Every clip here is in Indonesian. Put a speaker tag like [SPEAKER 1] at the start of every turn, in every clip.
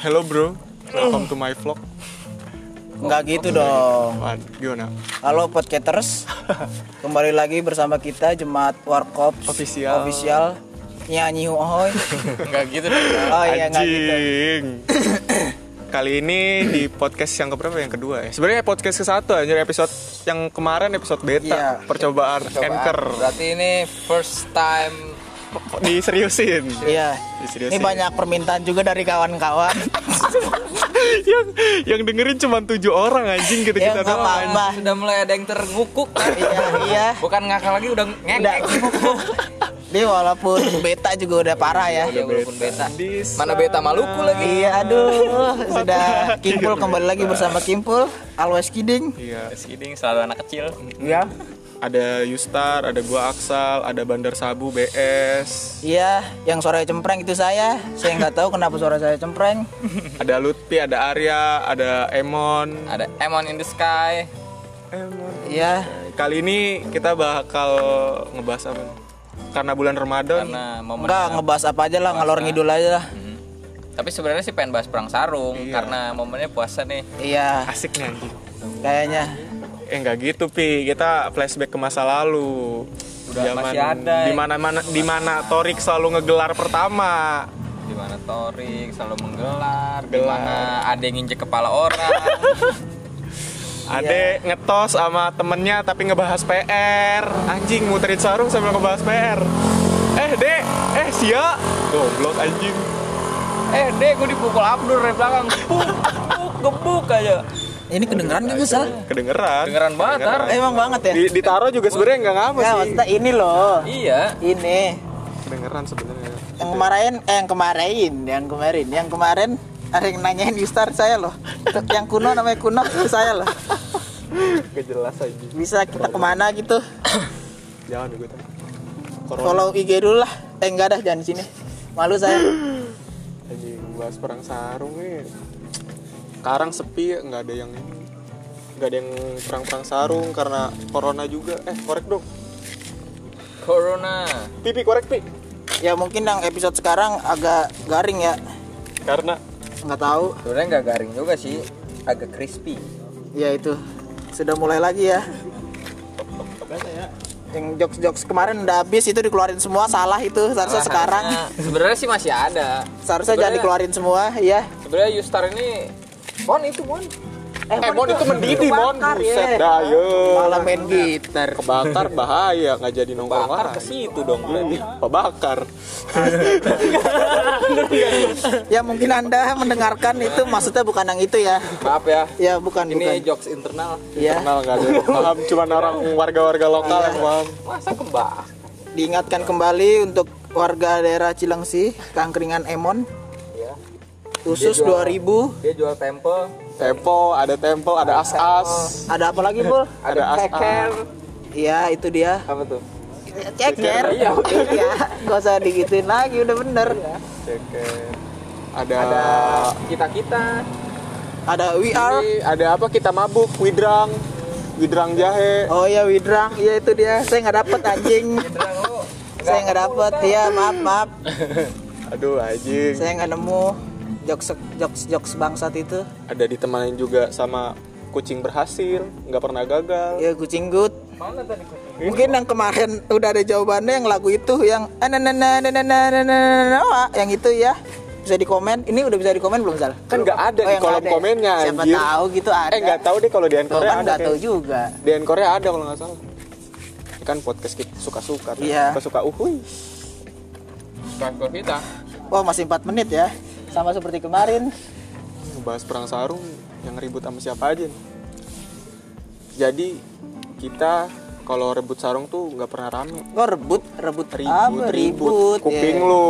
[SPEAKER 1] Hello bro, welcome to my vlog.
[SPEAKER 2] Nggak gitu dong.
[SPEAKER 1] Wah, gimana?
[SPEAKER 2] Halo podcasters, kembali lagi bersama kita jemaat Warkops
[SPEAKER 1] Official.
[SPEAKER 2] official Ya, nyanyi ohoy.
[SPEAKER 3] Enggak gitu dong.
[SPEAKER 2] Oh iya nggak gitu.
[SPEAKER 1] Anjing. Kali ini di podcast yang keberapa yang kedua ya? Sebenarnya podcast ke satu anjir episode yang kemarin episode
[SPEAKER 2] Iya.
[SPEAKER 1] beta percobaan, anchor
[SPEAKER 3] Berarti ini first time
[SPEAKER 1] diseriusin.
[SPEAKER 2] Iya.
[SPEAKER 1] Diseriusin.
[SPEAKER 2] Ini banyak permintaan juga dari kawan-kawan.
[SPEAKER 1] yang yang dengerin cuma tujuh orang anjing gitu
[SPEAKER 2] Ya,
[SPEAKER 1] kita
[SPEAKER 2] nggak
[SPEAKER 1] doang.
[SPEAKER 2] apa-apa. Bah.
[SPEAKER 3] sudah mulai ada yang terngukuk.
[SPEAKER 2] iya, iya.
[SPEAKER 3] Bukan ngakak lagi udah
[SPEAKER 2] Udah.
[SPEAKER 3] ngekek.
[SPEAKER 2] Dia walaupun beta juga udah parah ya.
[SPEAKER 3] Iya, walaupun beta.
[SPEAKER 1] Di
[SPEAKER 3] Mana beta Maluku lagi?
[SPEAKER 2] Iya, aduh, sudah Kimpul kembali lagi bersama Kimpul, always kidding.
[SPEAKER 1] Iya.
[SPEAKER 3] Siding selalu anak kecil.
[SPEAKER 2] Iya.
[SPEAKER 1] Ada Yustar, ada gua Aksal, ada Bandar Sabu BS,
[SPEAKER 2] Iya, yang suaranya cempreng itu saya. Saya nggak tahu kenapa suara saya cempreng.
[SPEAKER 1] ada Lutfi, ada Arya, ada Emon.
[SPEAKER 3] Ada Emon in the sky.
[SPEAKER 1] Emon.
[SPEAKER 2] Iya,
[SPEAKER 1] Kali ini kita bakal ngebahas apa? nih? Karena bulan Ramadan.
[SPEAKER 3] Karena momen
[SPEAKER 2] enggak ngebahas apa aja lah, ngalor ngidul aja lah.
[SPEAKER 3] Hmm. Tapi sebenarnya sih pengen bahas perang sarung karena momennya puasa nih.
[SPEAKER 2] Iya,
[SPEAKER 1] Asik nih anjing.
[SPEAKER 2] kayaknya.
[SPEAKER 1] Eh nggak gitu pi, kita flashback ke masa lalu.
[SPEAKER 3] Udah, masih ada
[SPEAKER 1] di
[SPEAKER 3] eh. yang-
[SPEAKER 1] mana-mana di mana Torik selalu ngegelar pertama.
[SPEAKER 3] Di mana Torik selalu menggelar, di
[SPEAKER 1] Gelar.
[SPEAKER 3] mana ada yang injek kepala orang. Iya.
[SPEAKER 1] Ade ngetos sama temennya tapi ngebahas PR. Anjing muterin sarung sambil ngebahas PR. Eh, Dek, eh Sia. Goblok anjing.
[SPEAKER 3] eh, Dek, gue dipukul Abdur dari belakang. Gebuk, gebuk, gebuk aja.
[SPEAKER 2] Ini kedengeran juga sal?
[SPEAKER 1] Kedengeran.
[SPEAKER 3] Kedengeran banget, Tar.
[SPEAKER 2] Emang banget ya?
[SPEAKER 1] Di, ditaruh juga sebenarnya nggak ngapa
[SPEAKER 2] Ya,
[SPEAKER 1] sih.
[SPEAKER 2] maksudnya ini loh.
[SPEAKER 3] Iya,
[SPEAKER 2] Ini
[SPEAKER 1] Kedengeran sebenarnya.
[SPEAKER 2] yang kemarin, eh, yang kemarin, yang kemarin, yang kemarin ada yang nanyain Yustar saya loh. Tuh, Yang kuno namanya kuno itu saya loh.
[SPEAKER 1] Gak jelas aja.
[SPEAKER 2] Bisa kita kemana gitu?
[SPEAKER 1] Jangan ikutan. Corona
[SPEAKER 2] Follow IG dulu lah. Eh enggak dah jangan di sini. Malu saya.
[SPEAKER 1] aja bahas perang sarung nih. Sekarang sepi ya, nggak ada yang nggak ada yang perang-perang sarung karena corona juga. Eh korek dong.
[SPEAKER 3] Corona.
[SPEAKER 1] Pipi korek pi.
[SPEAKER 2] Ya mungkin yang episode sekarang agak garing ya.
[SPEAKER 1] Karena
[SPEAKER 2] Nggak tahu.
[SPEAKER 3] Sebenarnya nggak garing juga sih, agak crispy.
[SPEAKER 2] Ya itu. Sudah mulai lagi ya. Yang jokes-jokes kemarin udah habis itu dikeluarin semua salah itu. Seharusnya
[SPEAKER 3] Nah,
[SPEAKER 2] sekarang
[SPEAKER 3] harusnya- sebenarnya sih masih ada.
[SPEAKER 2] seharusnya jangan
[SPEAKER 3] Sebenarnya-
[SPEAKER 2] dikeluarin semua ya.
[SPEAKER 3] Sebenarnya Yustar ini Mon itu Mon.
[SPEAKER 2] Eh,
[SPEAKER 1] Mon, itu mendidih, Mon.
[SPEAKER 2] bakar,
[SPEAKER 1] Buset
[SPEAKER 2] ya.
[SPEAKER 1] dah, yo.
[SPEAKER 2] Malah main gitar.
[SPEAKER 1] kebakar bahaya nggak jadi nongkrong
[SPEAKER 3] Iya. Bakar
[SPEAKER 1] lagi.
[SPEAKER 3] ke situ dong. berarti.
[SPEAKER 2] Hmm.
[SPEAKER 1] Kebakar.
[SPEAKER 2] Ya mungkin Anda mendengarkan itu maksudnya bukan yang itu ya.
[SPEAKER 3] Maaf ya.
[SPEAKER 2] Ya bukan
[SPEAKER 3] Ini
[SPEAKER 2] bukan.
[SPEAKER 3] jokes internal.
[SPEAKER 2] Ya,
[SPEAKER 1] Kenal nggak ada yang paham. Cuman orang warga-warga lokal yang paham.
[SPEAKER 3] Masa kembak?
[SPEAKER 2] diingatkan kembali untuk warga daerah Cilengsi, Kangkringan Emon,
[SPEAKER 3] Ya.
[SPEAKER 2] khusus 2000.
[SPEAKER 3] Dia jual temple,
[SPEAKER 1] Tempo, ada tempo, ada as-as,
[SPEAKER 2] Ada apa lagi, Bul?
[SPEAKER 1] ada as-as.
[SPEAKER 3] ceker.
[SPEAKER 2] Iya, itu dia.
[SPEAKER 3] Apa tuh?
[SPEAKER 2] ceker
[SPEAKER 3] Iya.
[SPEAKER 2] iya gak usah digituin lagi udah bener
[SPEAKER 1] Iya. Ceker. Ada,
[SPEAKER 2] Eh,
[SPEAKER 3] Kita-kita.
[SPEAKER 2] ada we are
[SPEAKER 1] Ini ada apa kita mabuk, widrang, widrang jahe.
[SPEAKER 2] oh ya widrang iya itu dia saya nggak dapet anjing
[SPEAKER 3] Terang lu.
[SPEAKER 1] oh.
[SPEAKER 2] saya nggak dapet iya maaf maaf
[SPEAKER 1] Aduh anjing.
[SPEAKER 2] saya nggak nemu jokes jokes jokes bangsat itu
[SPEAKER 1] Ada ditemanin juga sama kucing berhasil, nggak pernah gagal.
[SPEAKER 2] ya kucing good
[SPEAKER 3] Mana tadi kucing?
[SPEAKER 1] Iya.
[SPEAKER 2] mungkin yang kemarin udah ada jawabannya yang lagu itu yang "Anananananananananawa", yang itu ya bisa dikomen ini udah bisa dikomen belum salah
[SPEAKER 1] Kan nggak ada di kolom komennya,
[SPEAKER 2] siapa
[SPEAKER 1] anjir.
[SPEAKER 2] tahu gitu ada
[SPEAKER 1] Eh nggak tahu deh kalau di
[SPEAKER 2] Gua
[SPEAKER 1] Ankorea
[SPEAKER 2] kan
[SPEAKER 1] ada.
[SPEAKER 2] nggak tahu
[SPEAKER 1] kayak-
[SPEAKER 2] juga
[SPEAKER 1] Di Ankorea ada kalau nggak salah. Ini Kan podcast kita suka-suka, kan?
[SPEAKER 2] Iya.
[SPEAKER 1] suka-suka uhuy.
[SPEAKER 3] Kakak kita.
[SPEAKER 2] Wah masih 4 menit ya Sama seperti kemarin
[SPEAKER 1] Bahas perang sarung yang ribut sama siapa aja. nih. Jadi kita kalau rebut sarung tuh nggak pernah rame.
[SPEAKER 2] Lo rebut Rebut
[SPEAKER 1] Ribut,
[SPEAKER 2] apa? Ribut,
[SPEAKER 1] kuping
[SPEAKER 2] ya.
[SPEAKER 1] lu.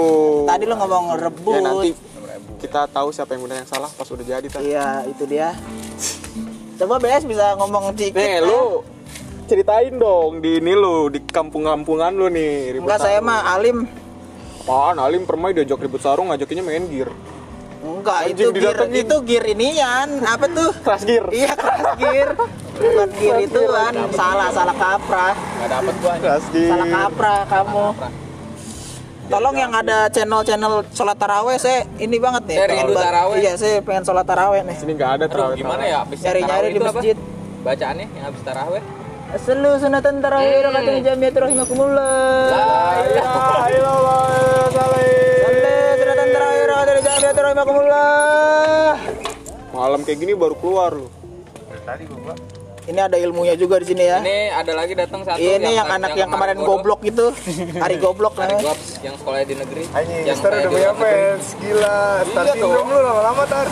[SPEAKER 2] Tadi lo ngomong rebut
[SPEAKER 1] Ya nanti kita tahu siapa yang benar yang salah pas udah jadi tadi.
[SPEAKER 2] Iya itu dia Coba BS bisa ngomong dikit
[SPEAKER 1] Nih
[SPEAKER 2] ya.
[SPEAKER 1] Eh, lu ceritain dong di ini lu di kampung-kampungan lu nih ribut
[SPEAKER 2] Enggak saya
[SPEAKER 1] sarung.
[SPEAKER 2] mah alim
[SPEAKER 1] Apaan Alim permai diajak ribut sarung ngajakinnya main gear.
[SPEAKER 2] Enggak
[SPEAKER 1] Anjing,
[SPEAKER 2] itu gear
[SPEAKER 1] didatengin.
[SPEAKER 2] Itu gear inian Apa tuh?
[SPEAKER 1] Keras gear.
[SPEAKER 2] Iya keras gear Bukan gear itu kan Salah salah kaprah
[SPEAKER 3] Enggak dapat gua.
[SPEAKER 1] Keras gear.
[SPEAKER 2] Salah kaprah kamu Tolong yang ada channel-channel sholat taraweh saya ini banget nih.
[SPEAKER 3] Saya rindu
[SPEAKER 2] Ba-
[SPEAKER 3] taraweh.
[SPEAKER 2] Iya, saya pengen sholat taraweh nih.
[SPEAKER 1] Sini nggak ada
[SPEAKER 3] Aduh,
[SPEAKER 1] terawih.
[SPEAKER 3] gimana ya habis
[SPEAKER 2] Nyari-nyari
[SPEAKER 3] tarawih
[SPEAKER 2] di
[SPEAKER 3] itu apa?
[SPEAKER 2] masjid.
[SPEAKER 3] Bacaannya yang habis taraweh.
[SPEAKER 2] Selu sunatan tarawih
[SPEAKER 3] Hmm. Ya.
[SPEAKER 2] rakaatnya jamiat rahimakumullah.
[SPEAKER 3] La ilaha
[SPEAKER 2] Selu sunatan tarawih rakaatnya jamiat rahimakumullah.
[SPEAKER 1] Malam kayak gini baru keluar lu.
[SPEAKER 2] Ini ada ilmunya juga di sini ya.
[SPEAKER 3] Ini ada lagi datang satu
[SPEAKER 2] Ini yang, anak yang kemarin goblok itu, hari goblok
[SPEAKER 3] Hari
[SPEAKER 2] namanya.
[SPEAKER 3] goblok yang sekolahnya di negeri.
[SPEAKER 4] Anjing,
[SPEAKER 3] yang
[SPEAKER 4] Mister
[SPEAKER 3] kayak
[SPEAKER 4] udah
[SPEAKER 3] di
[SPEAKER 4] punya ya?
[SPEAKER 3] luar negeri.
[SPEAKER 4] fans, gila. Tar
[SPEAKER 3] Iya, tuh.
[SPEAKER 4] sindrom lu lama-lama, Tar.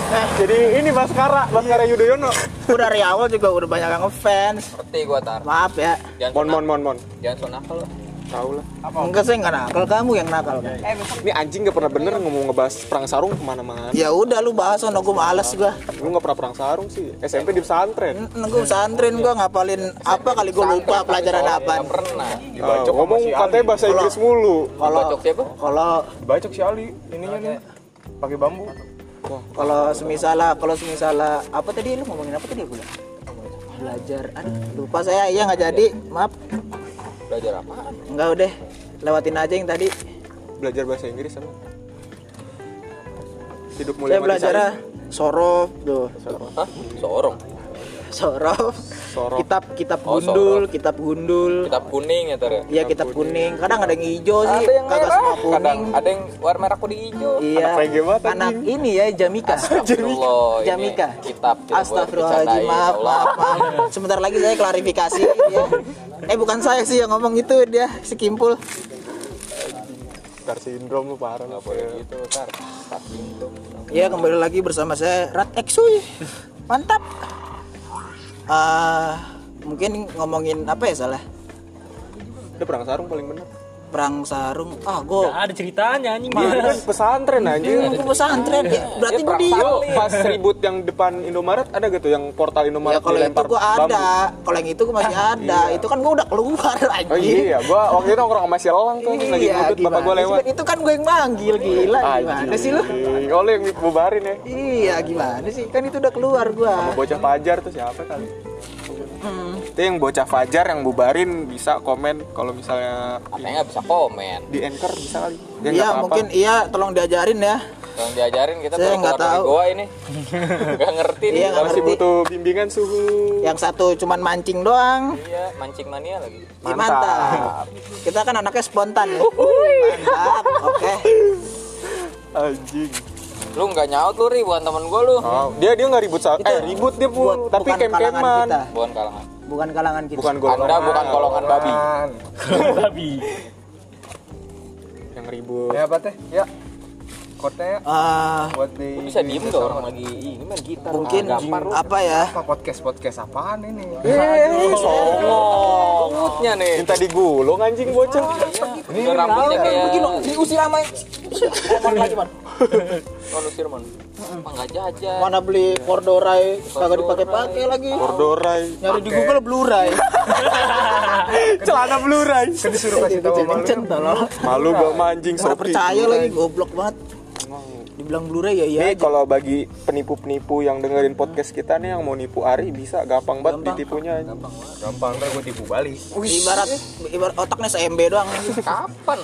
[SPEAKER 1] Jadi ini Baskara, Baskara Yudhoyono.
[SPEAKER 2] Udah dari awal juga udah banyak yang ngefans.
[SPEAKER 3] Ngerti gua tar.
[SPEAKER 2] Maaf ya.
[SPEAKER 3] Jangan
[SPEAKER 1] Mon
[SPEAKER 3] so
[SPEAKER 1] mon mon mon.
[SPEAKER 3] nak- jangan so nakal lu.
[SPEAKER 1] Tahu lah.
[SPEAKER 2] Enggak saya enggak nakal, kamu yang nakal. Bang.
[SPEAKER 3] Eh.
[SPEAKER 1] Ini anjing gak pernah bener ngomong ngebahas perang sarung kemana-mana.
[SPEAKER 2] Ya udah lu bahas sono gue males gua.
[SPEAKER 1] Lu gak pernah perang sarung sih. SMP di pesantren.
[SPEAKER 2] N- Gue pesantren gua ngapalin apa kali gue lupa pelajaran apa.
[SPEAKER 3] Nggak pernah.
[SPEAKER 1] Ah, ngomong katanya bahasa Inggris mulu.
[SPEAKER 2] Kalau
[SPEAKER 3] Bacok siapa?
[SPEAKER 2] kalau
[SPEAKER 4] Dibacok si Ali, ininya nih. Pakai bambu.
[SPEAKER 2] kalau semisala kalau semisala apa tadi lu ngomongin apa tadi gue? Belajar. Aduh, lupa saya iya nggak jadi. Maaf.
[SPEAKER 3] Belajar apa?
[SPEAKER 2] Enggak udah. Lewatin aja yang tadi.
[SPEAKER 1] Belajar bahasa Inggris sama. Hidup
[SPEAKER 2] Saya
[SPEAKER 1] mulia mati
[SPEAKER 2] belajar
[SPEAKER 1] syahid.
[SPEAKER 2] ah, sorof tuh.
[SPEAKER 3] Hah? Sorong.
[SPEAKER 2] Sorof.
[SPEAKER 1] Sorof.
[SPEAKER 2] Kitab kitab
[SPEAKER 3] Oh,
[SPEAKER 2] gundul, kitab gundul.
[SPEAKER 3] Kitab kuning ya tar ya.
[SPEAKER 2] Iya kitab kuning. Kadang ada yang hijau sih,
[SPEAKER 3] Ada yang
[SPEAKER 2] kagak
[SPEAKER 3] merah,
[SPEAKER 2] semua
[SPEAKER 3] kadang
[SPEAKER 2] kuning.
[SPEAKER 3] ada yang warna merah kuning hijau.
[SPEAKER 2] Iya.
[SPEAKER 1] Anak VG banget,
[SPEAKER 2] Anak ini ya Jamika.
[SPEAKER 3] Astagfirullah, ini
[SPEAKER 2] Jamika.
[SPEAKER 3] Kitab tidak boleh
[SPEAKER 2] Astagfirullahaladzim,
[SPEAKER 3] dicandain,
[SPEAKER 2] maaf,
[SPEAKER 3] Allah.
[SPEAKER 2] maaf, maaf. Sebentar lagi saya klarifikasi. ya. Eh bukan saya sih yang ngomong itu dia si Kimpul.
[SPEAKER 1] Tar sindrom lu parah.
[SPEAKER 3] Nggak boleh gitu tar. Tar gitu.
[SPEAKER 2] Ya kembali lagi bersama saya Rat Exuy. Mantap. Ah, mungkin ngomongin apa ya salah?
[SPEAKER 1] Udah perang sarung paling bener.
[SPEAKER 2] Perang sarung. Ah, gue
[SPEAKER 5] ada ceritanya anjing
[SPEAKER 1] Iya kan pesantren anjing.
[SPEAKER 2] gue pesantren
[SPEAKER 1] Iya,
[SPEAKER 2] ya. Berarti
[SPEAKER 3] Dia
[SPEAKER 2] gue
[SPEAKER 3] perang
[SPEAKER 2] di
[SPEAKER 1] Lu pas ribut yang depan Indomaret ada gitu yang portal
[SPEAKER 2] Ya
[SPEAKER 1] Indomaret
[SPEAKER 2] kalau itu
[SPEAKER 1] dilempar
[SPEAKER 2] gua
[SPEAKER 1] bambu? Ah, iya.
[SPEAKER 2] ada, kalau yang itu gua masih ada. Itu kan gua udah keluar lagi.
[SPEAKER 1] Oh iya, gua waktu itu nongkrong sama si Elang tuh terus
[SPEAKER 2] Iya,
[SPEAKER 1] lagi ngutut bapak gua lewat. Ah, iya.
[SPEAKER 2] Itu kan gua yang manggil gila gimana
[SPEAKER 1] Anjing.
[SPEAKER 2] sih lu?
[SPEAKER 1] Oh lu yang bubarin ya.
[SPEAKER 2] Iya gimana sih? Kan itu udah keluar gua.
[SPEAKER 1] Bocah Fajar tuh siapa kali? Itu yang bocah Fajar yang bubarin bisa komen kalau misalnya
[SPEAKER 3] Katanya nggak bisa komen.
[SPEAKER 1] di anchor bisa kali. Ya, nggak
[SPEAKER 2] Iya
[SPEAKER 1] apa-apa.
[SPEAKER 2] mungkin iya tolong diajarin ya.
[SPEAKER 3] Yang diajarin kita
[SPEAKER 2] Saya
[SPEAKER 3] baru
[SPEAKER 2] nggak
[SPEAKER 3] keluar dari
[SPEAKER 2] tahu.
[SPEAKER 3] goa ini. Nggak ngerti nih.
[SPEAKER 2] Iya nggak
[SPEAKER 1] masih
[SPEAKER 2] ngerti.
[SPEAKER 1] butuh bimbingan suhu.
[SPEAKER 2] Yang satu cuman mancing doang.
[SPEAKER 3] Iya, mancing mania lagi.
[SPEAKER 2] Ih,
[SPEAKER 1] Mantap.
[SPEAKER 2] Mantap. Kita kan anaknya spontan ya. Mantap. Oke.
[SPEAKER 1] Anjing.
[SPEAKER 3] Lu nggak nyaut lu, Ri, bukan temen gua lu.
[SPEAKER 1] Oh, dia dia nggak ribut sa- eh ribut dia pun,
[SPEAKER 2] Buat-
[SPEAKER 1] tapi
[SPEAKER 2] bukan kalangan kita.
[SPEAKER 1] kem-keman.
[SPEAKER 3] Bukan kalangan.
[SPEAKER 2] Bukan kalangan kita.
[SPEAKER 1] Bukan golongan.
[SPEAKER 3] Anda bukan golongan babi.
[SPEAKER 4] Nah,
[SPEAKER 5] babi.
[SPEAKER 1] yang ribut.
[SPEAKER 4] Ya apa teh? Ya. Kotnya ya.
[SPEAKER 2] Ah,
[SPEAKER 4] Buat di...
[SPEAKER 3] Lu bisa diem gak orang lagi ini main gitar.
[SPEAKER 2] mungkin
[SPEAKER 3] Ah, gampar lu.
[SPEAKER 2] apa ya?
[SPEAKER 4] Apa podcast-podcast apaan ini?
[SPEAKER 1] Eh,
[SPEAKER 3] Songong. Mulutnya nih.
[SPEAKER 1] Minta digulung anjing bocah.
[SPEAKER 3] Ini rambutnya kayak
[SPEAKER 2] diusir sama
[SPEAKER 3] manusia man. Apa nggak jajan?
[SPEAKER 2] mana beli kordorai kagak dipakai-pakai lagi
[SPEAKER 1] Kordorai.
[SPEAKER 2] nyari di Google blurai
[SPEAKER 1] Celana blurai.
[SPEAKER 4] Kan disuruh kasih tahu sama lu.
[SPEAKER 2] Cen tolol
[SPEAKER 1] Malu gua sama anjing
[SPEAKER 2] nggak
[SPEAKER 1] Shopee.
[SPEAKER 2] percaya lagi goblok banget dibilang bluray ya iya
[SPEAKER 1] Ini
[SPEAKER 2] aja.
[SPEAKER 1] kalau bagi penipu-penipu yang dengerin podcast kita nih yang mau nipu Ari bisa gampang banget ditipunya. anjing.
[SPEAKER 4] Gampang, ntar gue tipu balik.
[SPEAKER 2] ibarat ibarat otaknya se-MB doang
[SPEAKER 3] Kapan?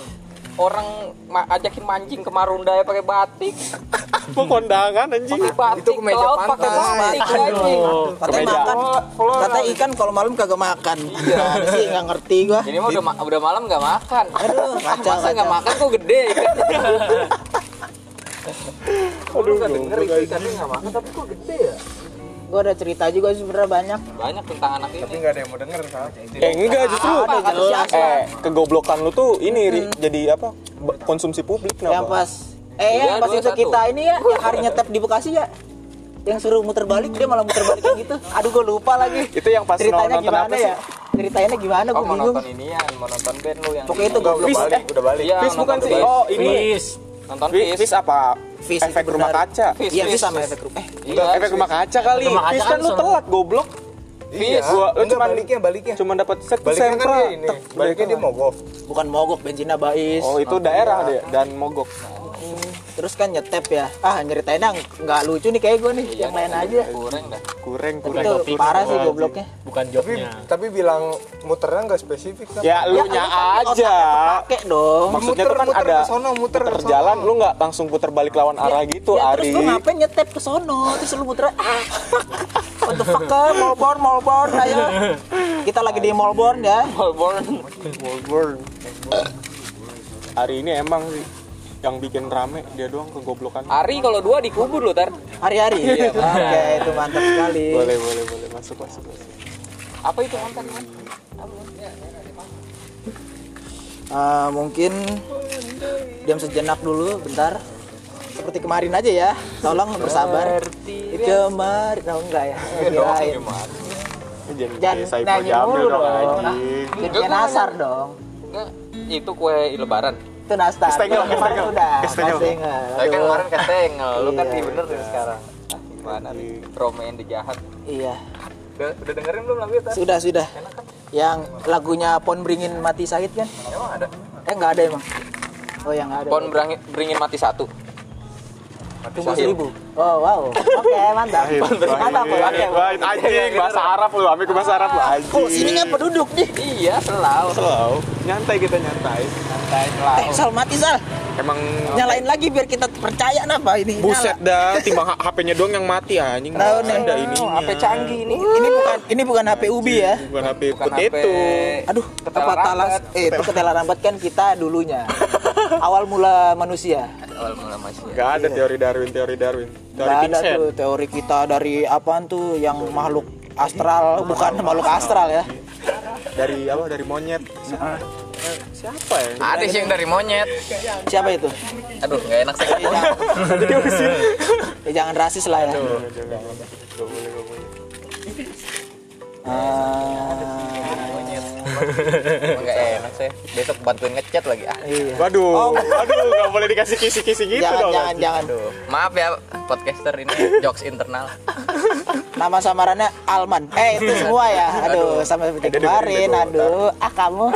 [SPEAKER 3] Orang ma- ajakin mancing ke Marunda ya pakai batik.
[SPEAKER 1] Mau kondangan anjing.
[SPEAKER 3] Pakai batik
[SPEAKER 4] Itu ke meja
[SPEAKER 3] laut pakai
[SPEAKER 4] pantai.
[SPEAKER 3] batik lagi.
[SPEAKER 2] katanya
[SPEAKER 1] kemeja.
[SPEAKER 2] makan
[SPEAKER 1] Flora.
[SPEAKER 2] katanya ikan kalau malam kagak makan iya sih nggak ngerti gua
[SPEAKER 3] Ini mah udah ma- udah malam nggak makan.
[SPEAKER 2] Aduh,
[SPEAKER 3] Ah,
[SPEAKER 2] kacau,
[SPEAKER 3] Masa nggak
[SPEAKER 2] kacau.
[SPEAKER 3] makan kok gede ya? ikan.
[SPEAKER 1] Aduh,
[SPEAKER 3] Nggak
[SPEAKER 1] goblok,
[SPEAKER 3] denger itu
[SPEAKER 1] anjing.
[SPEAKER 3] ikannya nggak makan tapi kok gede ya.
[SPEAKER 2] gua ada cerita juga sih sebenarnya banyak
[SPEAKER 3] Banyak tentang anak
[SPEAKER 4] Tapi
[SPEAKER 3] ini.
[SPEAKER 4] nggak ada yang mau denger, salah.
[SPEAKER 1] Eh enggak justru
[SPEAKER 2] Apa,
[SPEAKER 3] kata
[SPEAKER 2] jelas
[SPEAKER 3] siapa?
[SPEAKER 1] eh kegoblokan lu tuh ini Ri, jadi apa? ba- Konsumsi publik
[SPEAKER 2] yang
[SPEAKER 1] kenapa?
[SPEAKER 2] pas
[SPEAKER 1] Iya,
[SPEAKER 2] eh yang
[SPEAKER 3] Tiga,
[SPEAKER 2] pas
[SPEAKER 3] dua,
[SPEAKER 2] itu
[SPEAKER 3] satu.
[SPEAKER 2] kita ini ya yang hari nyetep di Bekasi ya yang suruh muter balik dia malah muter balik kayak gitu aduh gue lupa lagi
[SPEAKER 1] Itu yang pas
[SPEAKER 2] ceritanya
[SPEAKER 1] nonton apa
[SPEAKER 2] gimana
[SPEAKER 1] sih?
[SPEAKER 2] ya ceritainnya gimana gue
[SPEAKER 3] Oh mau
[SPEAKER 2] bingung
[SPEAKER 3] nonton inian, mau nonton band lu yang.
[SPEAKER 2] Pokoknya itu
[SPEAKER 3] nonton
[SPEAKER 2] goblok
[SPEAKER 1] Fis,
[SPEAKER 4] Balik,
[SPEAKER 1] eh,
[SPEAKER 4] udah balik.
[SPEAKER 3] Iya,
[SPEAKER 1] Fis
[SPEAKER 3] nonton
[SPEAKER 1] bukan sih?
[SPEAKER 3] Fis.
[SPEAKER 1] Oh, ini.
[SPEAKER 5] Please.
[SPEAKER 3] Nonton
[SPEAKER 1] Fis,
[SPEAKER 3] Fis.
[SPEAKER 1] Fis apa?
[SPEAKER 2] Fis,
[SPEAKER 1] efek
[SPEAKER 2] itu
[SPEAKER 1] rumah
[SPEAKER 2] benar.
[SPEAKER 1] kaca.
[SPEAKER 3] Fis,
[SPEAKER 2] iya
[SPEAKER 3] Fis.
[SPEAKER 2] bisa sama efek rumah eh,
[SPEAKER 1] Enggak,
[SPEAKER 3] Iya,
[SPEAKER 1] efek
[SPEAKER 3] Fis.
[SPEAKER 1] rumah kaca kali.
[SPEAKER 5] Rumah kaca
[SPEAKER 1] Fis
[SPEAKER 5] kan
[SPEAKER 1] kan lu
[SPEAKER 5] sono.
[SPEAKER 1] telat goblok.
[SPEAKER 4] Iya,
[SPEAKER 1] Gua- lu
[SPEAKER 4] enggak,
[SPEAKER 1] cuman-
[SPEAKER 4] baliknya, baliknya.
[SPEAKER 1] Cuma dapat set
[SPEAKER 4] Baliknya kan
[SPEAKER 1] sempra.
[SPEAKER 4] dia ini.
[SPEAKER 1] Tek,
[SPEAKER 4] Baliknya dia
[SPEAKER 1] belakang.
[SPEAKER 4] mogok.
[SPEAKER 2] bukan mogok bensinnya bais
[SPEAKER 1] Oh, itu daerah dia dan mogok.
[SPEAKER 2] terus kan nyetep ya ah nyeritainnya nggak lucu nih kayak gue nih yang lain aja
[SPEAKER 5] kurang dah
[SPEAKER 1] kurang
[SPEAKER 2] tapi
[SPEAKER 1] kurang
[SPEAKER 2] itu
[SPEAKER 5] topik.
[SPEAKER 2] parah sih
[SPEAKER 5] Anjing.
[SPEAKER 2] gobloknya
[SPEAKER 5] bukan
[SPEAKER 4] tapi
[SPEAKER 5] jobnya
[SPEAKER 4] tapi bilang muternya nggak spesifik kan? Sam.
[SPEAKER 1] ya lu nya aja
[SPEAKER 2] pakai dong
[SPEAKER 1] maksudnya tuh
[SPEAKER 4] Muter,
[SPEAKER 1] kan
[SPEAKER 4] muter
[SPEAKER 1] ada
[SPEAKER 4] ke sono, muter ke sono.
[SPEAKER 1] jalan lu nggak langsung putar balik lawan arah gitu
[SPEAKER 2] ya,
[SPEAKER 1] Ari
[SPEAKER 2] terus lu ngapain nyetep ke sono terus lu muter ah fuck. what the fuck ah, Melbourne Melbourne ayo kita lagi di Melbourne ya
[SPEAKER 1] Wolverine. Hari ini emang sih yang bikin rame dia doang kegoblokan.
[SPEAKER 3] Ari kalau dua dikubur lo tar.
[SPEAKER 2] hari-hari
[SPEAKER 1] Iya.
[SPEAKER 2] oke itu mantap sekali
[SPEAKER 1] Boleh boleh boleh masuk masuk masuk.
[SPEAKER 3] Apa itu mantan kan?
[SPEAKER 2] Eh, mungkin diam sejenak dulu bentar seperti kemarin aja ya tolong bersabar kemarin oh enggak ya
[SPEAKER 1] Iya
[SPEAKER 2] Kirain.
[SPEAKER 1] Ini Jangan
[SPEAKER 2] Jangan
[SPEAKER 1] kayak Saipul
[SPEAKER 2] nanya
[SPEAKER 1] Jamil
[SPEAKER 2] mulu
[SPEAKER 1] Iya, dong
[SPEAKER 2] dong.
[SPEAKER 1] anjing.
[SPEAKER 2] Jadinya nasar dong
[SPEAKER 3] Enggak. Itu kue lebaran.
[SPEAKER 2] itu nastar
[SPEAKER 1] Kestengel,
[SPEAKER 2] Kalau kemarin
[SPEAKER 1] kestengel.
[SPEAKER 2] udah
[SPEAKER 1] Kestengel.
[SPEAKER 2] kestengel.
[SPEAKER 3] Tapi kan
[SPEAKER 2] Aduh.
[SPEAKER 3] kemarin ketengel, lu kan
[SPEAKER 2] Iya.
[SPEAKER 3] dibenerin sekarang. Ah, gimana nih? Romain the jahat.
[SPEAKER 2] iya
[SPEAKER 4] udah, udah dengerin belum lagu itu
[SPEAKER 2] sudah sudah yang lagunya pon beringin mati sakit kan
[SPEAKER 4] emang ada
[SPEAKER 2] eh nggak ada emang oh yang nggak ada
[SPEAKER 3] Pon berangi- beringin mati satu.
[SPEAKER 2] tunggu seribu oh wow oke mantap mantap oke
[SPEAKER 1] Anjing, wah, Iya, anjing bahasa Arab lu, ambil ke bahasa Arab lu anjing.
[SPEAKER 2] oh sini nggak penduduk nih
[SPEAKER 3] Iya, selalu.
[SPEAKER 1] Slow. Nyantai kita nyantai.
[SPEAKER 3] Santai selalu.
[SPEAKER 2] eh, sal mati sal
[SPEAKER 1] Emang
[SPEAKER 2] nyalain lagi biar kita percaya napa ini
[SPEAKER 1] buset
[SPEAKER 2] nyala.
[SPEAKER 1] dah, timbang HP-nya doang yang mati anjing.
[SPEAKER 2] Tahu nih.
[SPEAKER 1] ada ini.
[SPEAKER 3] HP canggih ini.
[SPEAKER 2] ini bukan ini bukan HP ubi ya
[SPEAKER 1] Bukan HP
[SPEAKER 3] Bukan
[SPEAKER 1] potato.
[SPEAKER 3] HP.
[SPEAKER 2] aduh
[SPEAKER 3] Ketela
[SPEAKER 2] apa talas
[SPEAKER 3] rambat.
[SPEAKER 2] eh itu ketela rambat kan kita dulunya awal mula manusia
[SPEAKER 3] Awal mula masih.
[SPEAKER 1] Gak ada teori Darwin, teori Darwin. Teori
[SPEAKER 2] Gak Iya. ada
[SPEAKER 1] Vincent.
[SPEAKER 2] tuh teori kita dari apaan tuh yang makhluk astral bukan makhluk astral ya
[SPEAKER 1] Dari apa? Dari monyet. Siapa? Eh, Siapa ya?
[SPEAKER 3] Ada sih yang dari monyet.
[SPEAKER 2] siapa itu
[SPEAKER 3] Aduh, nggak enak sih.
[SPEAKER 2] ya, jangan- ya, jangan rasis lah ya
[SPEAKER 1] Tuh, jangan. Gak boleh, gak boleh.
[SPEAKER 2] Ah,
[SPEAKER 3] Emang nggak enak sih. Besok bantuin ngechat lagi ah.
[SPEAKER 2] iya.
[SPEAKER 1] Waduh, waduh, gak boleh dikasih kisi-kisi gitu
[SPEAKER 2] jangan
[SPEAKER 1] dong.
[SPEAKER 2] jangan jangan
[SPEAKER 3] Maaf ya podcaster ini jokes internal.
[SPEAKER 2] nama samarannya Alman eh itu semua ya aduh sampai seperti kemarin aduh ah kamu